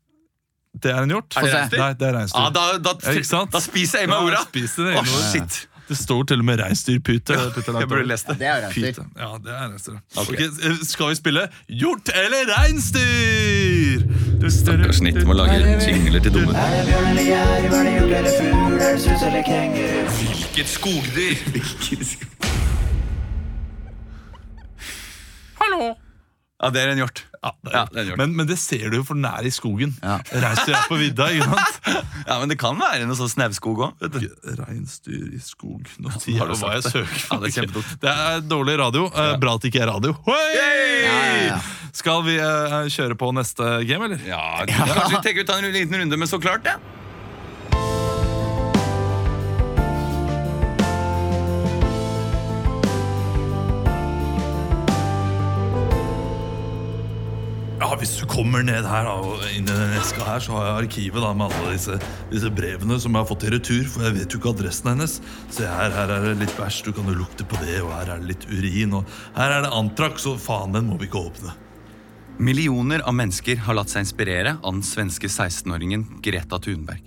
Det er en hjort.
Er det
Få se.
reinsdyr?
Nei, det er reinsdyr.
Ja, da, da,
Ja, ikke sant?
da spiser jeg
Ja,
meg orda!
spis det, det
Å,
ene ordet.
shit!
Det står til og med reinsdyrpute. putte langt
Jeg burde
over.
lest det.
Det er reinsdyr.
Pyte. Ja, det er reinsdyr.
Ok.
Ok, eh, skal vi spille Hjort eller reinsdyr? Du større-
å lage jingler til dumme. Hvilket skogdyr! Ja, det er en hjort.
Ja, det er,
Ja, det er en hjort.
men, men det ser du jo, for den er i skogen.
Ja.
Reinsdyr er på vidda, ikke sant?
Ja, Men det kan være noe sånn snauskog òg.
Reinsdyr i skog Nå sier
Har du
jeg hva jeg
sagt det?
søker.
Ja, det er
for.
kjempedumt.
det er dårlig radio. Eh, Bra at det ikke er radio. Hoi!
ja.
Skal vi eh, kjøre på neste game, eller?
Ja, kanskje vi tenker ut en liten runde med så klart, ja.
Ja, Hvis du kommer ned her da, og inn i den eska her, så har jeg arkivet da, med alle disse, disse brevene som jeg har fått i retur. For jeg vet jo ikke adressen hennes. Se her, her er det litt bæsj, du kan jo lukte på det. Og her er det litt urin. Og her er det antrax, og faen, den må vi ikke åpne.
Millioner av mennesker har latt seg inspirere av den svenske 16-åringen Greta Thunberg.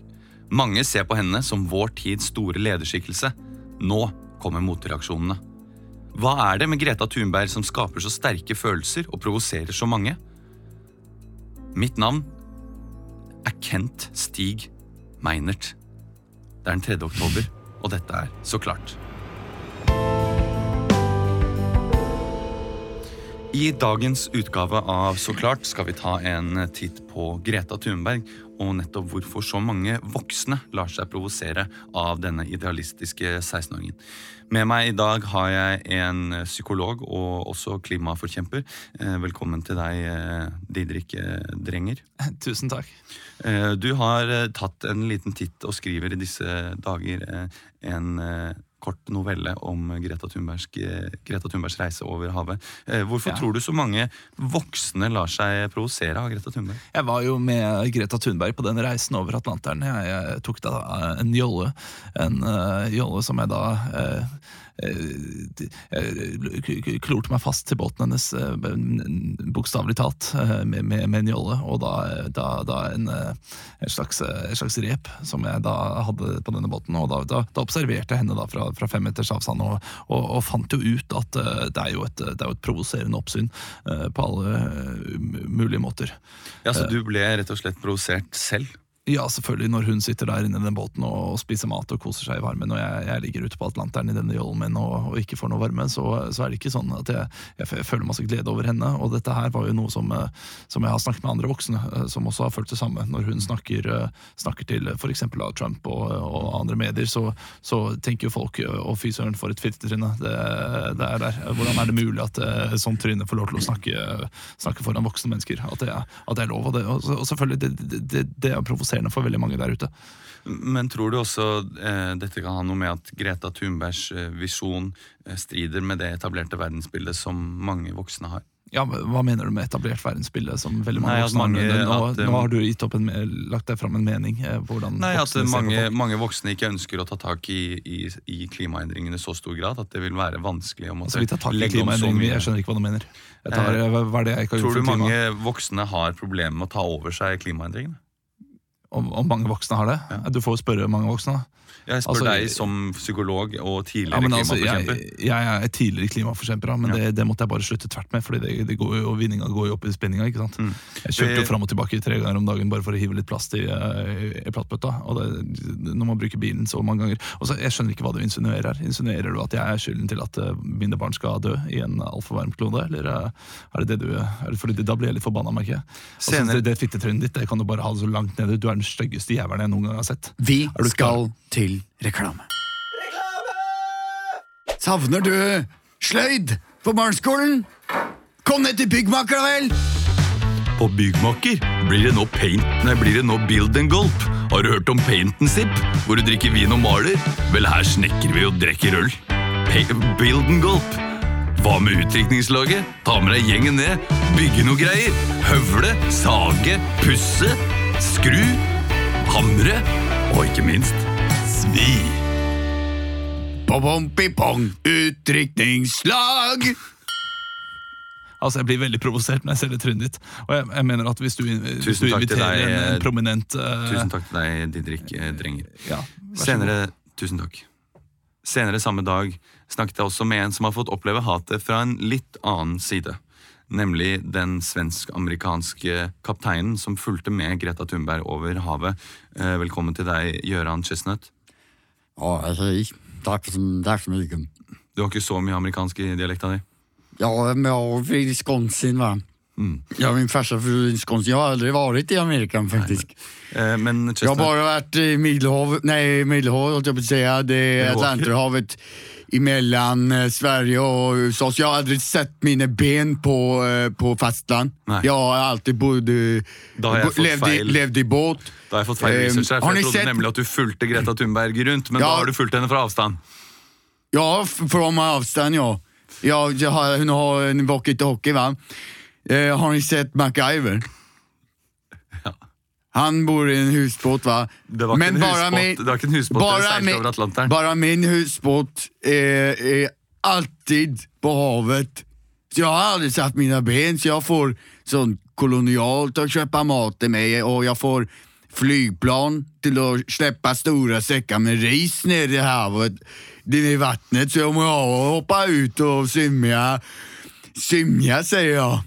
Mange ser på henne som vår tids store lederskikkelse. Nå kommer motreaksjonene. Hva er det med Greta Thunberg som skaper så sterke følelser og provoserer så mange? Mitt navn er Kent Stig Meinert. Det er den 3. oktober, og dette er Så klart. I dagens utgave av Så klart skal vi ta en titt på Greta Thunberg og nettopp hvorfor så mange voksne lar seg provosere av denne idealistiske 16-åringen. Med meg i dag har jeg en psykolog og også klimaforkjemper. Eh, Velkommen til deg, eh, Didrik eh, Drenger.
Tusen takk.
Eh, Du har eh, tatt en liten titt og skriver i disse dager eh, en eh, kort novelle om Greta Thunbergs, eh, Greta Thunbergs reise over havet. Eh, Hvorfor tror du så mange voksne lar seg provosere av Greta Thunberg?
Jeg var jo med Greta Thunberg på den reisen over Atlanteren. Jeg, jeg tok da eh, en jolle, en eh, jolle som jeg da eh, eh, d- eh, k- k- klorte meg fast til båten hennes, eh, b- n- bokstavelig talt, eh, med, med, med en jolle. Og da, eh, da, da en, eh, en, slags, eh, en slags rep som jeg da hadde på denne båten. Og da, da, da observerte jeg henne da fra, fra fem meters avstand, og, og, og fant jo ut at eh, det er jo et, det er jo et provoserende oppsyn eh, på alle eh, m- mulige måter.
Ja, så du ble rett og slett provosert selv?
Ja, selvfølgelig når hun sitter der inne i den båten og og spiser mat og koser seg i varmen, og jeg, jeg ligger ute på Atlanteren i denne jollen min og, og ikke får noe varme, så, så er det ikke sånn at jeg, jeg f- føler masse glede over henne. Og dette her var jo noe som, eh, som jeg har snakket med andre voksne eh, som også har følt det samme. Når hun snakker, eh, snakker til f.eks. Trump og, og andre medier, så, så tenker jo folk eh, å fy søren, for et filtetryne. Det, det er der. Hvordan er det mulig at eh, sånt tryne får lov til å snakke, snakke foran voksne mennesker? At det er, at det er lov. Og, det, og, så- og selvfølgelig, det, det- det, det er provoserende for veldig mange der ute.
Men tror du også eh, dette kan ha noe med at Greta Thunbergs eh, visjon eh, strider med det etablerte verdensbildet som mange voksne har?
Ja, men Hva mener du med etablert verdensbilde? som veldig mange
Nei, at
voksne har?
mange-
nå,
at, um,
nå har du gitt opp en, me- lagt deg fram en mening. eh, Hvordan
Nei, at
voksne ser på
mange,
folk.
mange voksne ikke ønsker å ta tak i, i, i klimaendringene i så stor grad at det vil være vanskelig å måtte
altså, Vi tar tak i
legge om så
klimaendringene.
mye.
Jeg skjønner ikke hva du mener. Jeg tar,
Eh,
eh, hva hva er det jeg ikke har
Tror
gjort
du
for klimaet?
mange voksne har problemer med å ta over seg klimaendringene?
Om, om mange voksne har det?
Ja.
Du får jo spørre mange voksne. da.
Jeg spør
Altså,
deg som psykolog og
Ja,
tidligere
men altså, jeg,
klimaforkjemper.
jeg er tidligere klimaforkjemper, da, men
Ja.
det, det måtte jeg bare slutte tvert med. Fordi det, det går jo, Vinninga går jo opp i spenninga. ikke sant?
Mm.
Jeg kjørte
Det-
jo fram og tilbake tre ganger om dagen bare for å hive litt plast i, eh, i plastbøtta. Og det, når man bruker bilen så mange ganger Og så, Jeg skjønner ikke hva du insinuerer. Insinuerer du at jeg er skylden til at eh, mine barn skal dø i en altfor varm klode? Eller eh, er det det du er det fordi, Da blir jeg litt forbanna, merker jeg. Altså,
Senere-
det det fittetrynet ditt det kan du bare ha det så langt nede. Du er den styggeste jævelen jeg noen gang har sett.
Vi
Er du
skal til reklame. Savner du sløyd på barneskolen? Kom ned til byggmaker, da vel!
På Byggmaker blir det nå paint, nei, blir det nå build and gulp. Har du hørt om paint and sip, hvor du drikker vin og maler? Vel, her snekker vi og drikker øl. Pa build and gulp. Hva med utdrikningslaget? Ta med deg gjengen ned, bygge noe greier. Høvle, sage, pusse, skru, hamre, og ikke minst, svi.
Bom-bom-pi-pong, utdrikningslag!
Altså, Jeg blir veldig provosert når jeg ser det trynet ditt. Og jeg, jeg mener at Hvis du, hvis du
takk til
inviterer
deg,
en,
eh,
en prominent eh,
takk til deg, Didrik eh, Drenger.
Ja, vær så god.
Senere, tusen takk. Senere samme dag snakket jeg også med en som har fått oppleve hatet fra en litt annen side. Nemlig den svensk-amerikanske kapteinen som fulgte med Greta Thunberg over havet. Eh, Velkommen til deg, Gøran Chestnut.
Ja, altså, takk, så mye.
Du har ikke så mye amerikansk i dialekta di.
Ja, men jag var från Wisconsin va.
Mm.
Ja, min farsa är från Wisconsin. Jag har aldrig varit i Amerika faktiskt.
Eh, Men
jag har
Chestnut,
bara varit i Medelhavet, nej Medelhavet höll jag på att säga, det är
Medelhavet.
Atlanterhavet emellan eh, Sverige och USA. Så jag har aldrig sett mina ben på, eh, på fastland.
Nej.
Jag har alltid bodde,
Da har jeg fått
levde, i-
feil.
levde i båt.
da har jeg fått feil
eh,
research her,
har
for
ni
jeg trodde
sett-
nemlig at du fulgte Greta Thunberg rundt, men
Ja.
da har du fulgt henne fra avstand.
Ja, f- från avstånd ja. ja jag har, hon har en walkie-talkie va. Eh, har ni sett MacGyver?
Ja.
Han bor i en husbåt va.
Det var ikke en husbåt, det var ikke en husbåt dere
bara
seilte
min-
over Atlanteren.
Bara min husbåt är, är alltid på havet. Så jag har aldrig satt mina ben så jag får sånt kolonialt att köpa mat till mig och jag får flygplan till att släppa stora säckar med ris ner i havet, ner i vattnet. Så jag må hoppa ut och simja. Simja säger jag.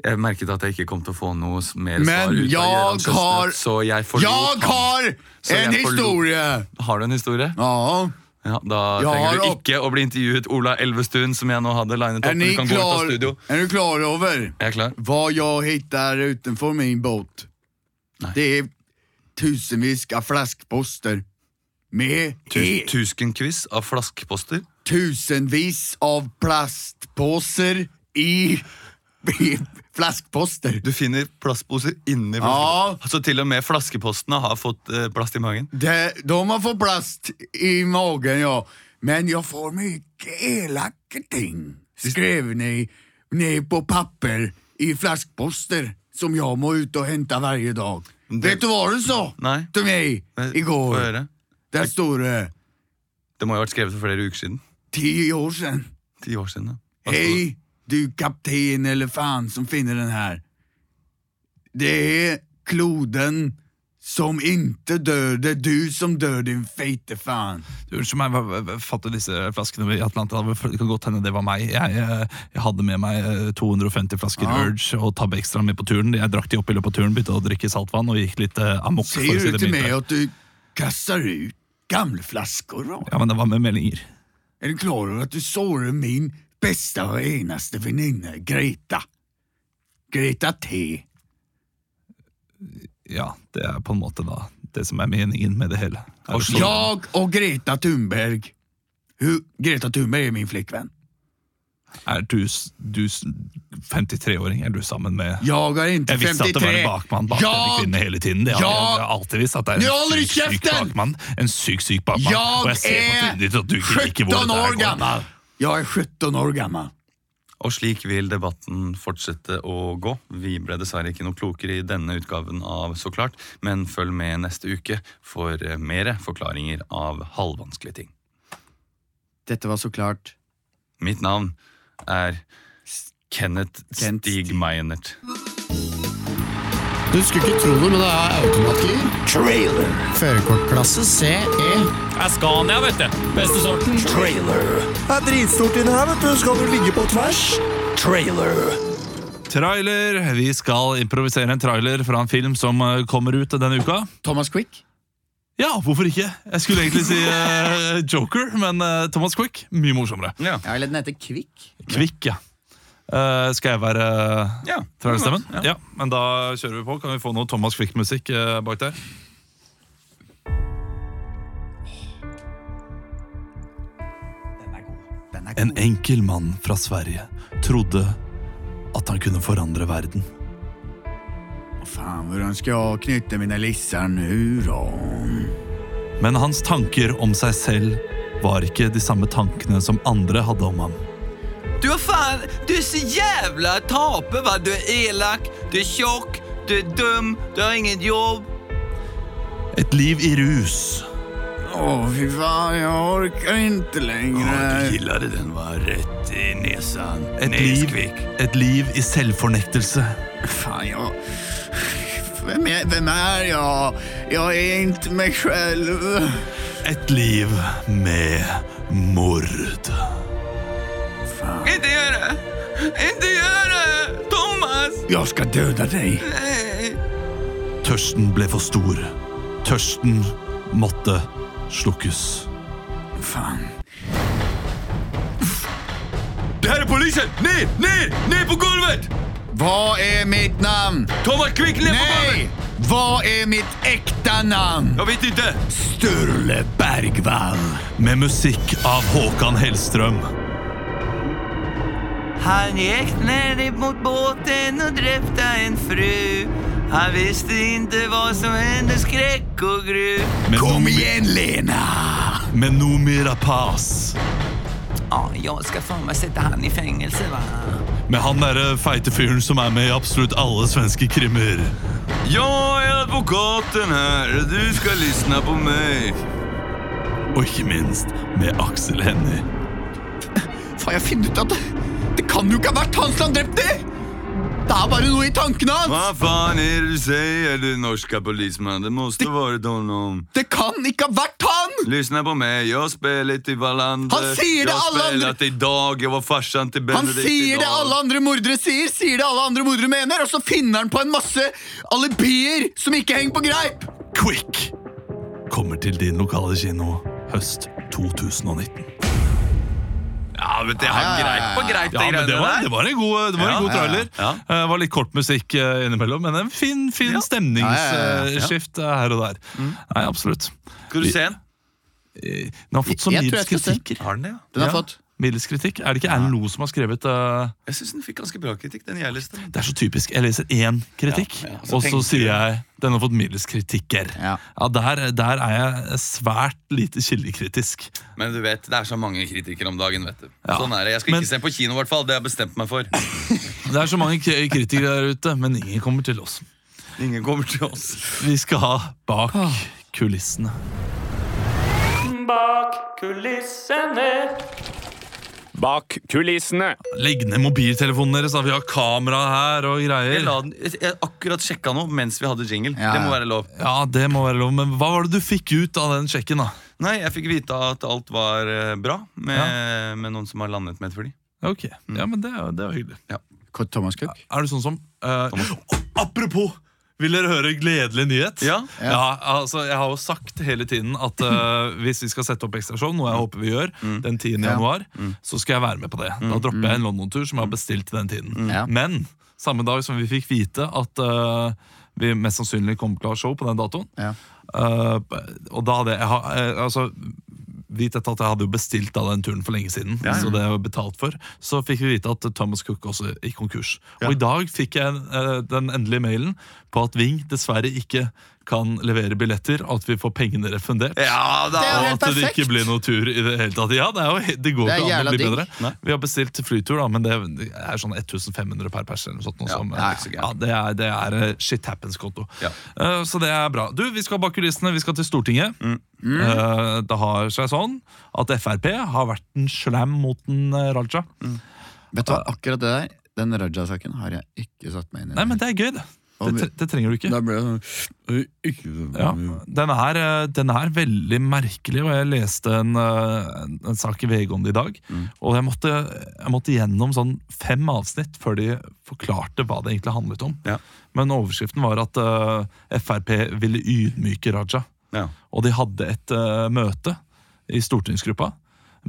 Jeg merket at jeg ikke kom til å få noe s- mer svar
Men
ut av Gøran
jag har,
Chestnut, så jeg
jag
forlot ham.
har
Så
en
jag förlor-
historia.
Har du en historie?
Ja.
Ja, da
Jeg har
trenger du
opp-
ikke å bli intervjuet Ola Elvestuen, som jeg nå hadde linet opp.
Er
men
ni
Du kan gå ut av
klar,
studio.
är du klar över
Jeg er klar.
vad jag hittar utanför min båt?
Nej.
Det är tusenvis av flaskposter med e-
Tusenquiz av flaskposter.
tusenvis av plastpåsar i, i flaskposter.
Du finner plastposer inni
Ja.
flaskepostene. Så til og med flaskepostene har fått eh, plast i magen.
De, de har fått plast i magen, ja. Men jag får mycket elaka ting, skrev ni, ni på papper i flaskposter som jag må ut och hämta varje dag.
Det-
Vet du vad du sa
Nej.
till mig
Men,
igår?
Få høre.
Där står det,
Det må jo ha vært skrevet for flere uker siden.
tio år sedan.
Ti år siden. da. Hva sto det?
Hej, du kapten eller fan som finner den här. Det är kloden som inte dör, det är du som dör din feite fan.
Du, Unnskyld meg, hva- hva- hva- fatter disse flaskene i Atlanterhavet? For Det kan godt hende det var meg. Jeg, eh, jeg hadde med meg eh, 250 flasker
Ja.
Urge og Tab Extra med på turen. Jeg drakk de opp i løpet av turen, begynte å drikke saltvann og gikk litt eh, amok. for å
Säger
si
du
det
till
mildt.
mig att du kastar ut gamla flaskor? va?
Ja, men det var med meldinger.
Är du klar över att du sårar min bästa och enaste väninna Greta? Greta T.
Ja, det er på en måte da det som er meningen med det hele. Er det sånn?
Jag och Greta Thunberg. Hur, Greta Thunberg är min flickvän.
Er du, s- du s- 53-åring, er du sammen med
Jag är inte
Jeg visste
53.
at det var en bakmann bak denne
jag,
kvinnen hele tiden. Det har jeg-
Ja!
jeg har alltid visst at det er
Nå
en
holder du
syk, syk
kjeften!
bakmann. En syk, syk bakmann.
Jeg
Og jeg ser på
er
trynet ditt at du ikke liker hvor
17
det der
år
går.
gammal. Jag är 17 år gammal.
Og slik vil debatten fortsette å gå. Vi ble dessverre ikke noe klokere i denne utgaven av Så klart, men følg med neste uke for eh, mere forklaringer av halvvanskelige ting.
Dette var så klart
Mitt navn er Kenneth
Kent Stig.
Stig-Meinert.
Du skulle ikke tro det, men det er automatgir.
Trailer.
Førerkortklasse CE.
Trailer. Det er dritstort inni her, vet du. Skal du ligge på tvers? Trailer.
Trailer. Vi skal improvisere en trailer fra en film som eh, kommer ut denne uka.
Thomas Quick.
Ja, hvorfor ikke? Jeg skulle egentlig si eh, Joker, men eh, Thomas Quick mye morsommere.
Ja, eller den heter Kvikk.
Kvikk, ja. Eh, skal jeg være uh,
Ja,
trailerstemmen? Ja. Men da kjører vi på. Kan vi få noe Thomas Quick-musikk eh, bak der? En enkel mann fra Sverige trodde at han kunne forandre verden.
Faen, hvordan skal jeg knytte mine lisser nå, da?
Men hans tanker om seg selv var ikke de samme tankene som andre hadde om ham.
Du er faen, du er så jævla taper, hva? Du er elak, du er tjokk, du er dum, du har ingen jobb.
Et liv i rus.
Å, fy faen, jeg orker ikke lenger.
Killade den var rett i nesan.
Et liv, et liv i selvfornektelse.
Faen, jeg... Hvem er, hvem er jeg? Jeg er ikke meg selv.
Et liv med mord.
Ikke gjør det! Ikke gjør det! Thomas!
Jeg skal døde deg.
Nei.
Tørsten ble for stor. Tørsten måtte slukkes.
Faen.
Det her er politiet! Ned, ned, ned på gulvet!
Hva er mitt navn?
Thomas Quick, ned på
Nei!
gulvet!
Hva er mitt ekte navn?
Jeg vet ikke.
Sturle Bergvall.
Med musikk av Håkan Hellstrøm.
Han gikk ned mot båten og drepte en fru. Han visste ikke hva som hendte, skrekk og gru.
Med,
Kom
Noomi-
igjen, Lena!
med Noomi Rapaz.
Ja, jeg skal faen meg sette han i fengsel, hva?
Med han derre feite fyren som er med i absolutt alle svenske krimmer.
Jeg er advokaten her, og du skal lyssna på meg.
Og ikke minst med Aksel Hennie.
Faen, jeg finner ut at det, det kan jo ikke ha vært han som drepte! Det er bare noe i tankene hans!
Hva faen er det du sier, du norske politimann? Det måste varit honom.
Det kan ikke ha vært han!
Lyssna på meg, jeg spiller til Wallander.
Han sier det, alle
Jeg
andre-
spiller til Dag, jeg var farsan til
Han
Benedikt i
sier det
dag.
alle andre mordere sier, sier det alle andre mordere mener, og så finner han på en masse alibier som ikke henger på greip!
Quick kommer til din lokale kino høst 2019.
Ja, vet du, jeg har greit på greit,
Ja,
det
men
greiene
det var,
der.
det var en god, det var en god trailer.
ja.
Eh, var litt kort musikk eh, innimellom, men en fin, fin
Ja, ja, ja,
stemningsskift eh, her og der.
Mm.
Nei, absolutt.
Skal du se den?
Eh, Den har fått så
Jeg- jeg
middels
tror jeg skal se den.
kritikk.
Har den det, ja?
Den har
Ja.
fått
Middels kritikk. Er det ikke Erlend Loe som har skrevet eh,
Jeg syns den fikk ganske bra kritikk, den jeg leste.
Det er så typisk. Jeg leser én kritikk,
Ja, ja, så
og så
tenker
sier
du-
jeg den har fått middels kritikker.
Ja.
der, der er jeg svært lite kildekritisk.
Men du vet, det er så mange kritikere om dagen, vet du.
Ja.
Sånn er det. Jeg skal
Men-
ikke se på kino, i hvert fall. Det har jeg bestemt meg for.
Det er så mange k- kritikere der ute, men ingen kommer til oss.
Ingen kommer til oss.
Vi skal ha bak kulissene.
Bak kulissene.
Legg ned mobiltelefonen deres, da. Vi har kamera her og
Jeg,
greier.
la den, jeg- jeg akkurat sjekka noe mens vi hadde jingle.
Ja,
Det må
ja.
være lov.
Ja, det må være lov, men Hva var det du fikk ut av den sjekken? da?
Nei, jeg fikk vite at alt var eh, bra med, med noen som har landet med et fly.
Ok, ja, men Det, er- det var hyggelig.
Thomas Cook.
Er du sånn som eh, Apropos! Vil dere høre en gledelig nyhet?
Ja.
altså, Jeg har jo sagt hele tiden at eh, hvis vi skal sette opp ekstrasjon, noe jeg håper vi gjør,
Mm.
den 10. januar, så skal jeg være med på det. Da dropper jeg en London-tur som jeg har bestilt til den tiden.
Mm. Ja.
Men samme dag som vi fikk vite at eh, vi mest sannsynlig kommer til å ha show på den datoen
Ja.
eh, Og da hadde jeg, jeg har- eh, altså, Vit dette at jeg hadde jo bestilt da den turen for lenge siden, så det var betalt for. Så fikk vi vite at Thomas Cook også gikk konkurs. Og i dag fikk jeg eh, den endelige mailen på at Ving dessverre ikke kan levere billetter, at vi får pengene refundert.
Ja da!
Det er jo
Og
helt
at det ikke
perfekt.
blir noe tur i det hele tatt. Ja, det, er jo, he- det går
Det er
ikke an å
jævla
bli
digg.
bedre. Vi har bestilt flytur, da, men det er sånn 1500 per pers. eller noe sånt. noe
Ja,
som-
det er ikke så gærent.
ja, det, er, det er eh, shit happens-konto.
Ja.
Eh, så det er bra. Du, Vi skal bak kulissene, vi skal til Stortinget. Eh, det har seg sånn at Frp har vært en slam mot en eh, Raja.
Vet du hva, akkurat det der, den Raja-saken har jeg ikke satt meg inn i.
Nei, men det er gøy, det. Det, tre- det trenger du ikke.
Da ble jeg sånn ikke sånn.
Ja, den er, eh, den er veldig merkelig, og jeg leste en, eh, en, en sak i VG om det i dag. Og jeg måtte, jeg måtte gjennom sånn fem avsnitt før de forklarte hva det egentlig handlet om.
Ja.
Men overskriften var at eh, Frp ville ydmyke Raja.
Ja.
Og de hadde et eh, møte i stortingsgruppa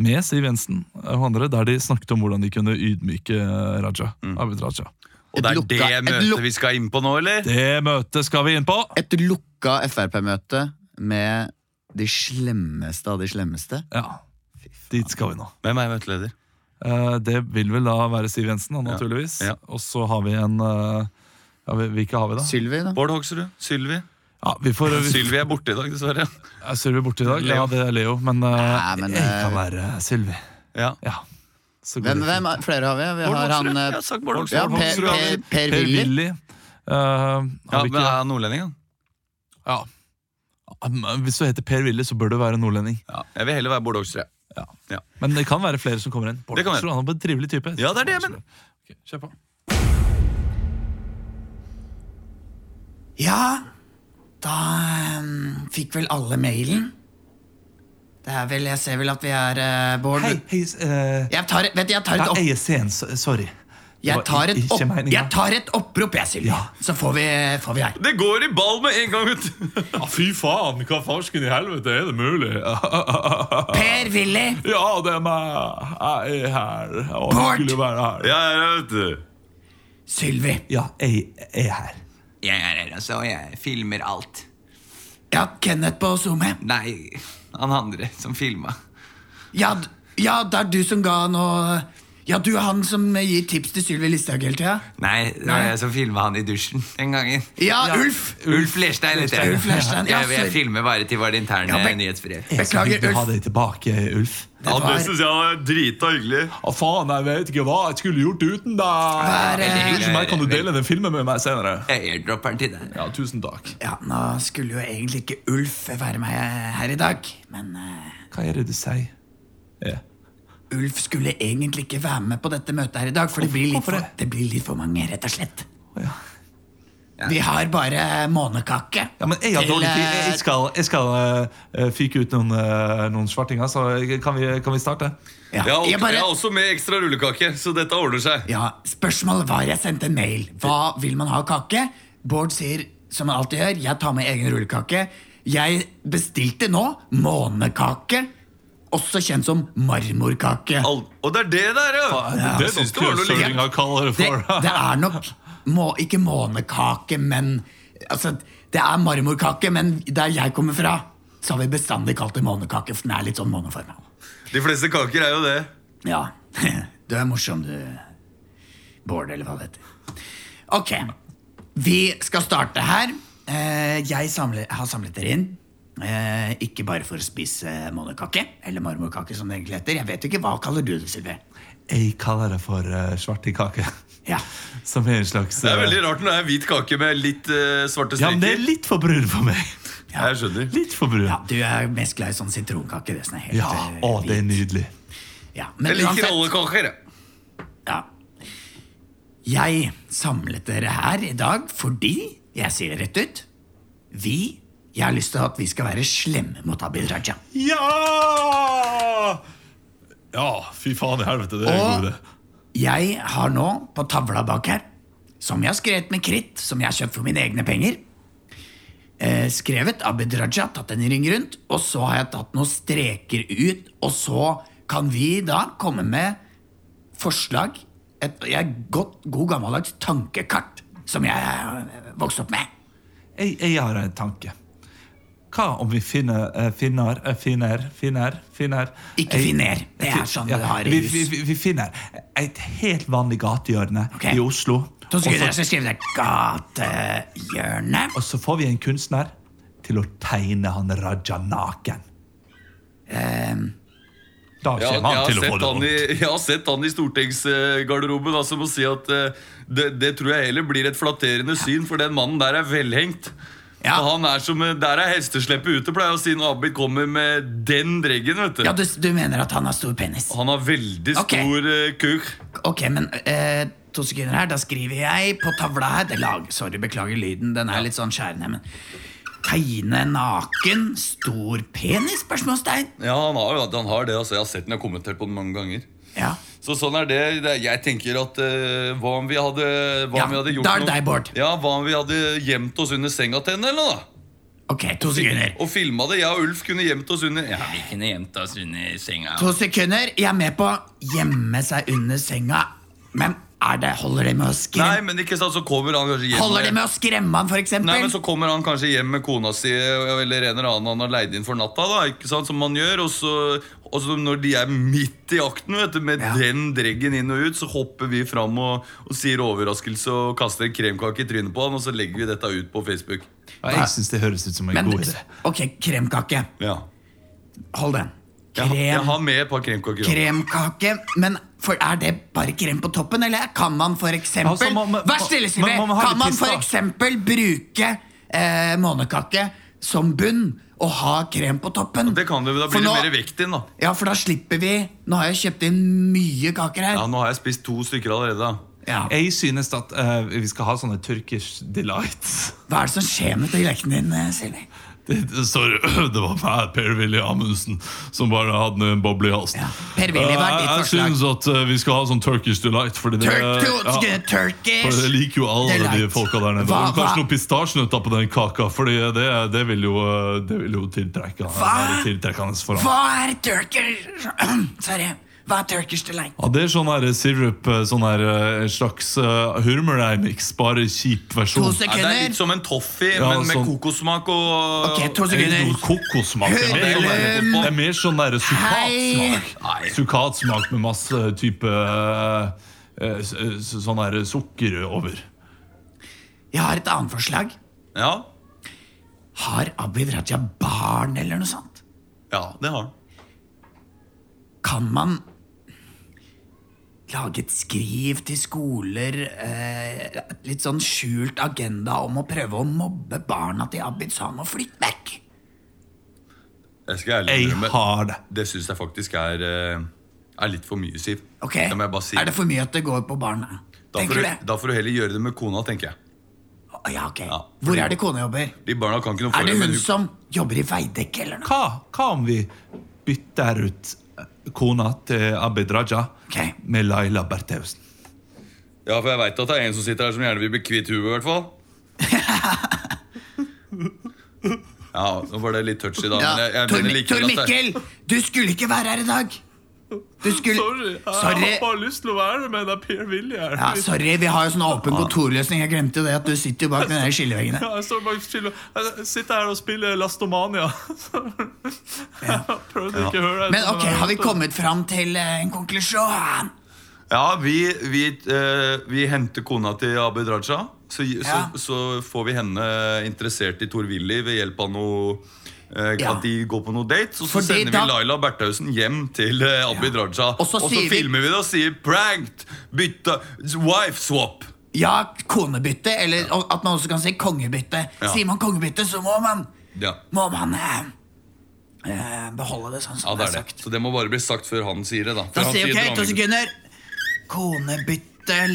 med Siv Jensen og andre, der de snakket om hvordan de kunne ydmyke Raja. Abid Raja.
Og det
Et
er
lukka-
det
et luk-
møtet vi skal inn på nå, eller?
Det møtet skal vi inn på!
Et lukka Frp-møte med de slemmeste av de slemmeste.
Ja, Dit skal vi nå.
Hvem er møteleder?
Eh, Det vil vel da være Siv Jensen, da, naturligvis.
ja.
Og så har vi en eh, ja, vi- Hvilke har vi, da?
Sylvi, da.
Bård Hoksrud? Sylvi?
Ja, vi får vi,
Sylvi er borte i dag, dessverre.
er Sylvi borte i dag. Ja,
Leo.
det er Leo. Men, eh,
Nei, men,
jeg kan
eh,
være Sylvi.
Ja.
Ja. Så går
Hvem,
det
hvem
fint.
er- flere har vi? Vi
Bård
har han
Hoksrud.
eh,
Jeg har sagt Bård Hoksrud.
ja,
Bård
per,
Hoksrud.
per, per
Per
Willy.
Willy. Eh, har
Ja,
vi
men
ikke,
er han nordlending, han?
ja. Ja, men eh, Hvis du heter Per Willy, så bør du være nordlending.
Ja. Jeg vil heller være Bård Hoksrud.
Men det kan være flere som kommer inn. Bård
Det kan være.
Hoksrud, han er en trivelig type.
Ja, det er det jeg mener.
Ok, kjør på.
Ja, da ehm, fikk vel alle mailen. Det er vel, Jeg ser vel at vi er eh, Bård
Hei, hei s- eh,
Jeg tar, vet, du, jeg tar
Det
et
er
opp...
ESC-en, så- sorry. Det
Jeg
var
tar et,
ikke
opp,
meningen.
jeg tar et opprop, jeg, Sylvi.
Ja.
Så får vi, får vi her.
Det går i ball med en gang, vet du!
Ja, fy faen, hva farsken i helvete er det mulig?
Per Willy,
ja, det er meg. Jeg er her. Og
Bort!
skulle være her.
Ja, ja, vet du.
Sylvi.
Ja, jeg er her.
Jeg er her, altså. og Jeg filmer alt.
Ja, Kenneth på Zoom. her.
Nei, han andre som filma.
Ja, d- ja, det er du som ga han og eh, Ja, du er han som eh, gir tips til Sylvi Listhaug hele tida?
Nei, det var jeg som filma han i dusjen den gangen.
Ja, Ulf!
Ulf Lerstein heter jeg.
Ulf Lerstein, ja,
Jeg- Jeg
sorry.
filmer bare til vårt interne
Ja, men-
nyhetsbrev.
Jeg skal
Beklager,
ikke ha
Ulf.
deg tilbake, Ulf.
Det var-
jeg var drita hyggelig.
Å faen, jeg vet ikke hva jeg skulle gjort uten deg.
Vær, eh,
Unnskyld meg, kan du dele den filmen med meg senere?
Jeg airdropper den til deg.
Ja, tusen takk.
Ja, nå skulle jo egentlig ikke Ulf være med her i dag, men eh,
Hva er det du sier? Ja.
Ulf skulle egentlig ikke være med på dette møtet her i dag, for det blir litt
Hvorfor
for,
det?
det blir litt for mange, rett og slett.
ja.
Vi har bare månekake.
Ja, men jeg, har
Til,
dårlig tid.
eh,
jeg skal, jeg skal eh, fyke ut noen, eh, noen svartinger, så kan vi, kan vi starte?
Ja,
Jeg har,
jeg bare,
jeg har også med ekstra rullekake, så dette ordner seg.
ja, spørsmålet var jeg sendte en mail. Hva vil man ha av kake? Bård sier som han alltid gjør, jeg tar med egen rullekake. Jeg bestilte nå månekake, også kjent som marmorkake.
Al og det er det der, ja!
Det
Jeg synes det
er
var
noe
noe litt-
køsøringa kaller det
Det,
for.
det er nok må, ikke månekake, men altså, Det er marmorkake, men der jeg kommer fra, så har vi bestandig kalt det månekake, for den er litt sånn måneforma.
De fleste kaker er jo det.
Ja. Du er morsom, du. Bård, eller hva det heter. Ok. Vi skal starte her. Eh, Jeg samler, har samlet dere inn. Eh, Ikke bare for å spise månekake, eller marmorkake, som det egentlig heter. Jeg vet ikke, Hva kaller du det, Sylvi?
Jeg kaller det for uh, svartingkake.
Ja.
Som er en slags
Det er
eh,
veldig rart når det er hvit kake med litt eh, svarte
Ja, men det er
streker.
litt for brun for meg.
Jeg skjønner.
Litt for brun.
ja,
Ja,
Du er mest glad i sånn sitronkake. Det som er helt eh,
å, det er
hvit.
nydelig.
Ja, men
Jeg liker
uansett,
alle kaker. jeg.
ja. Jeg samlet dere her i dag fordi, jeg sier det rett ut, vi Jeg har lyst til at vi skal være slemme mot Abid Raja.
Ja! Ja, fy faen i helvete, det er en god
Og
idé.
jeg har nå, på tavla bak her, som jeg har skrevet med kritt, som jeg har kjøpt for mine egne penger eh, Skrevet Abid Raja, tatt en ring rundt, og så har jeg tatt noen streker ut, og så kan vi da komme med forslag. Et jeg, godt, god gammeldags tankekart som jeg eh, vokste opp med.
Jeg, jeg har en tanke. Hva om vi finner eh, finner eh, finner finner finner
Ikke
ei-
finner. Det er sånn du har i
vi,
hus.
vi, vi- vi finner et helt vanlig gatehjørne
Ok.
i Oslo.
Så
Og
skulle
så-
dere skrive der 'Gatehjørnet'.
og så får vi en kunstner
til å tegne han Raja naken.
Ehm.
da
Ja,
kommer han
jeg,
til å
har
få
sett
det
han i, jeg har sett han i stortingsgarderoben, altså må si at eh, det, det tror jeg heller blir et flatterende syn, for den mannen der er velhengt. Og Han er som, eh, Der er hestesleppet ute, pleier jeg å si når Abid kommer med den dreggen. vet du.
Ja, du, du mener at han har stor penis?
Han har veldig stor eh, kuk.
Ok, men eh, to sekunder her. Da skriver jeg på tavla her det lag, Sorry, beklager lyden. Den er litt sånn skjærende. Men tegne naken, stor penis? Spørsmålstegn.
Ja, han har, jo- han har det. altså Jeg har sett den, jeg har kommentert på den mange ganger.
Ja.
Så sånn er det. det er- jeg tenker at eh, hva om vi hadde, hva om vi hadde gjort
da er det
noe-
deg, Bård.
Ja, hva om vi hadde gjemt oss under senga til henne, eller noe? da?
Ok, to sekunder.
Og filma det. Jeg og Ulf kunne gjemt oss under Ja, vi kunne gjemt oss under senga.
To sekunder. Jeg er med på gjemme seg under senga. Men er det, holder det med å
Nei,
skremme?
men ikke sant, så kommer han kanskje hjem
Holder det med å skremme han, for eksempel?
Nei, men så kommer han kanskje hjem med kona si eller en eller annen han har leid inn for natta, da, ikke sant, som man gjør. Og så, og så når de er midt i akten, vet du, med den dreggen inn og ut, så hopper vi fram og, og sier overraskelse og kaster en kremkake i trynet på han, og så legger vi dette ut på Facebook.
Ja, jeg syns det høres ut som en
Men-
god idé.
Ok, kremkake.
Ja.
Hold den.
Jeg, har- jeg
Krem,
har med et par kremkaker. også.
kremkake. Men for, er det bare krem på toppen, eller kan man for eksempel
Altså, man- man-
Vær stille, Sylvi!
man- man må ha
Kan
litt
man
tiss,
for
da.
eksempel bruke eh, månekake som bunn og ha krem på toppen?
Det kan du, da
For
blir det
nå-
mer vekt inn, da.
Ja, for da slipper vi Nå har jeg kjøpt inn mye kaker her.
Ja, nå har jeg spist to stykker allerede. da.
Ja.
Jeg synes at eh, vi skal ha sånne Turkish delights.
Hva er det som skjer med dialekten din, eh, Sylvi?
Det, det- sorry, det var meg, Per-Willy Amundsen, som bare hadde en boble i halsen.
Per-Willy, hva er
Eh,
ditt
jeg
forslag?
syns at eh, vi skal ha sånn Turkish delight. Fordi det,
Tur- tur-
ja,
Turkish
for det liker jo alle de
delight.
folka der nede.
Hva-
Og kanskje
hva-
noen pistasjenøtter på den kaka, Fordi det, det, vil jo, eh, det vil jo tiltrekke han.
Hva?
være tiltrekkende for
Hva
han.
er turkish Sorry. Hva er turkish delight?
Ja, det er sånn her sirup, eh, sånn her eh, slags uh, hurmeldeigmiks, bare kjip versjon.
Nei, det er litt som en toffee,
Ja,
men med
sånn-
kokossmak og
Ok, to
Det er
sekunder.
noe Kokossmak. Det er mer sånn der-
Hudlum.
det er mer sånn der
Hei.
sukkatsmak. Sukkatsmak med masse type eh, eh, s- s- sånn der sukker over.
Jeg har et annet forslag.
Ja,
Har Abid Raja barn eller noe sånt?
ja det har han.
Kan man lage et skriv til skoler eh, Litt sånn skjult agenda om å prøve å mobbe barna til Abid, så han må flytte vekk?
Jeg skal ærlig
Jeg
innrømme,
har det.
Det syns jeg faktisk er, eh, er litt for mye, Siv.
Ok,
Det må jeg bare si.
Er det for mye at det går på barna?
da, får
Tenker
du,
du det?
da får du heller gjøre det med kona, tenker jeg.
Å, Ja, ok. Hvor er det kona jobber?
De barna kan ikke noe for
Er det
men
hun
hun-
som jobber i Veidekke, eller noe?
Hva, hva om vi bytter ut
eh,
kona til Abid Raja
Ok.
med Laila Bertheussen?
Ja, for jeg veit at det er en som sitter her som gjerne vil bli kvitt huet, i hvert fall. Ja, nå var det litt touchy, da.
Ja,
Men jeg, jeg
Tor,
mener likevel
Tor
at det,
Mikkel, du skulle ikke være her i dag. Du skulle Sorry.
lyst til å være med deg, Per Willy.
Ja, sorry, vi har jo sånn åpen kontorløsning. Jeg glemte jo det at du sitter jo bak den der skilleveggene.
Jeg står bak sitter her og spiller Lastomania. Prøvde ikke å høre
Men ok, har vi kommet fram til eh, en konklusjon?
ja, vi, vi, eh, vi henter kona til Abid Raja. Så,
Ja.
så, så får vi henne interessert i Tor-Willy ved hjelp av noe eh,
Ja.
At de går på noe date. Og så
Fordi
sender
da-
vi Laila Berthaussen hjem til eh, Abid Raja.
Og så sier vi-
filmer vi det og sier 'pranked'! Bytte wife swap!
Ja, konebytte, eller og at man også kan si kongebytte.
Ja.
Sier man kongebytte, så må man,
Ja.
må man eh, eh, beholde det sånn
ja,
som
det
det
er
er
det.
sagt.
Så det må bare bli sagt før han sier det, da. For
Da
han
sier
sier
ok, to
dronningen.
sekunder. Konebytte,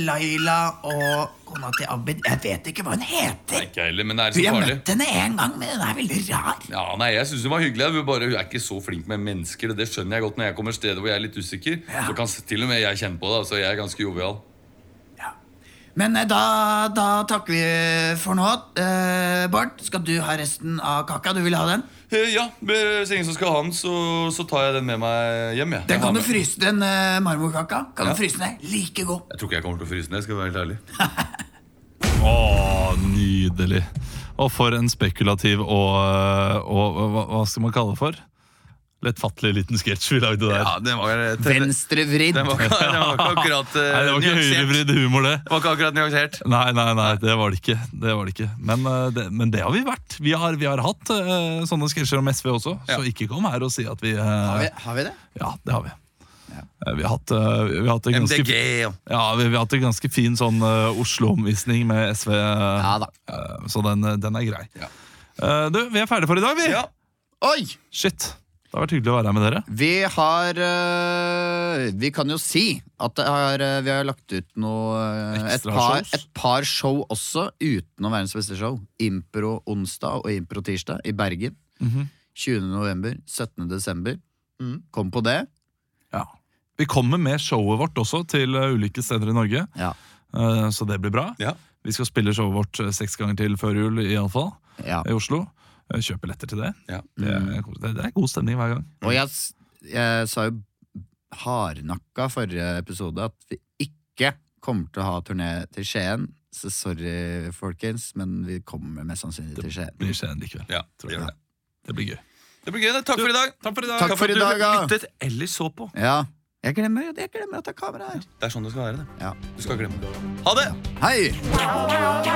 Laila og kona til Abid. Jeg vet ikke hva hun heter.
Nei, ikke jeg heller, men det er
Vi
så
har
farlig.
møtt henne en gang, men hun er veldig rar.
Ja, nei, jeg synes hun var hyggelig. Hun, bare, hun er ikke så flink med mennesker. Det skjønner jeg godt når jeg kommer steder hvor jeg er litt usikker.
Ja.
Så kan s- til og med jeg kjenne på det. Altså, jeg er ganske jovial.
Men eh, da, da takker vi for nå. Eh, Bård, skal du ha resten av kaka? Du vil ha den?
Eh, Ja, hvis ingen som skal ha den, så, så tar jeg den med meg hjem. Jeg.
Den
Jeg har
kan du
med-
fryse, den eh, marmorkaka kan
Ja.
du fryse ned. Like god.
Jeg tror ikke jeg kommer til å fryse den. jeg skal være helt ærlig
Å, nydelig. Og for en spekulativ og, og hva, hva skal man kalle det for? lettfattelig liten sketsj vi lagde der.
Ja, den var
Venstrevridd.
Den var, ikke- den var ikke akkurat eh,
Nei, det var ikke
nyansert.
høyrevridd humor, det.
Det var ikke akkurat nyansert.
Nei, nei, nei, det var det ikke. Det var det ikke. Men, eh, det, men det har vi vært. Vi har, vi har hatt eh, sånne sketsjer om SV også, så ikke kom her og si at vi eh,
Har vi, har vi det?
Ja, det har vi. Eh, Vi har hatt, eh, vi har hatt en ganske,
MDG og
ja, vi, vi har hatt en ganske fin sånn eh, Oslo-omvisning med SV, eh,
Ja da.
eh, så den, eh, den er grei.
Ja.
Eh, du, vi er ferdige for i dag, vi!
Ja.
Oi!
Shit. Det har vært hyggelig å være her med dere.
Vi har øh, Vi kan jo si at det har, øh, vi har lagt ut noe øh, et
Ekstra
par,
shows.
et par show også, utenom verdens beste show. Impro onsdag og Impro tirsdag i Bergen.
Mhm.
20. november, 17. desember.
Mm.
Kom på det.
Ja. Vi kommer med showet vårt også til eh, ulike steder i Norge,
Ja.
eh, så det blir bra.
Ja.
Vi skal spille showet vårt eh, seks ganger til før jul, iallfall,
ja.
i Oslo. Eh, Kjøp billetter til det.
Ja.
Det,
Mm.
er, det er god stemning hver gang.
Og jeg, s- jeg sa jo hardnakka forrige episode at vi ikke kommer til å ha turné til Skien. Så sorry, folkens, men vi kommer mest sannsynlig til Skien.
Det blir Skien likevel.
Ja,
Tror
Mm. det
jeg.
gjør
det. det blir gøy.
Det blir gøy. det. Takk for i dag. Takk for i dag.
Takk for i dag, ja.
at du lyttet eller så på.
Ja. Jeg glemmer, jeg glemmer at det er kamera her.
Det er sånn det skal være. det.
Ja.
Du skal ikke glemme. Ha det!
Hei!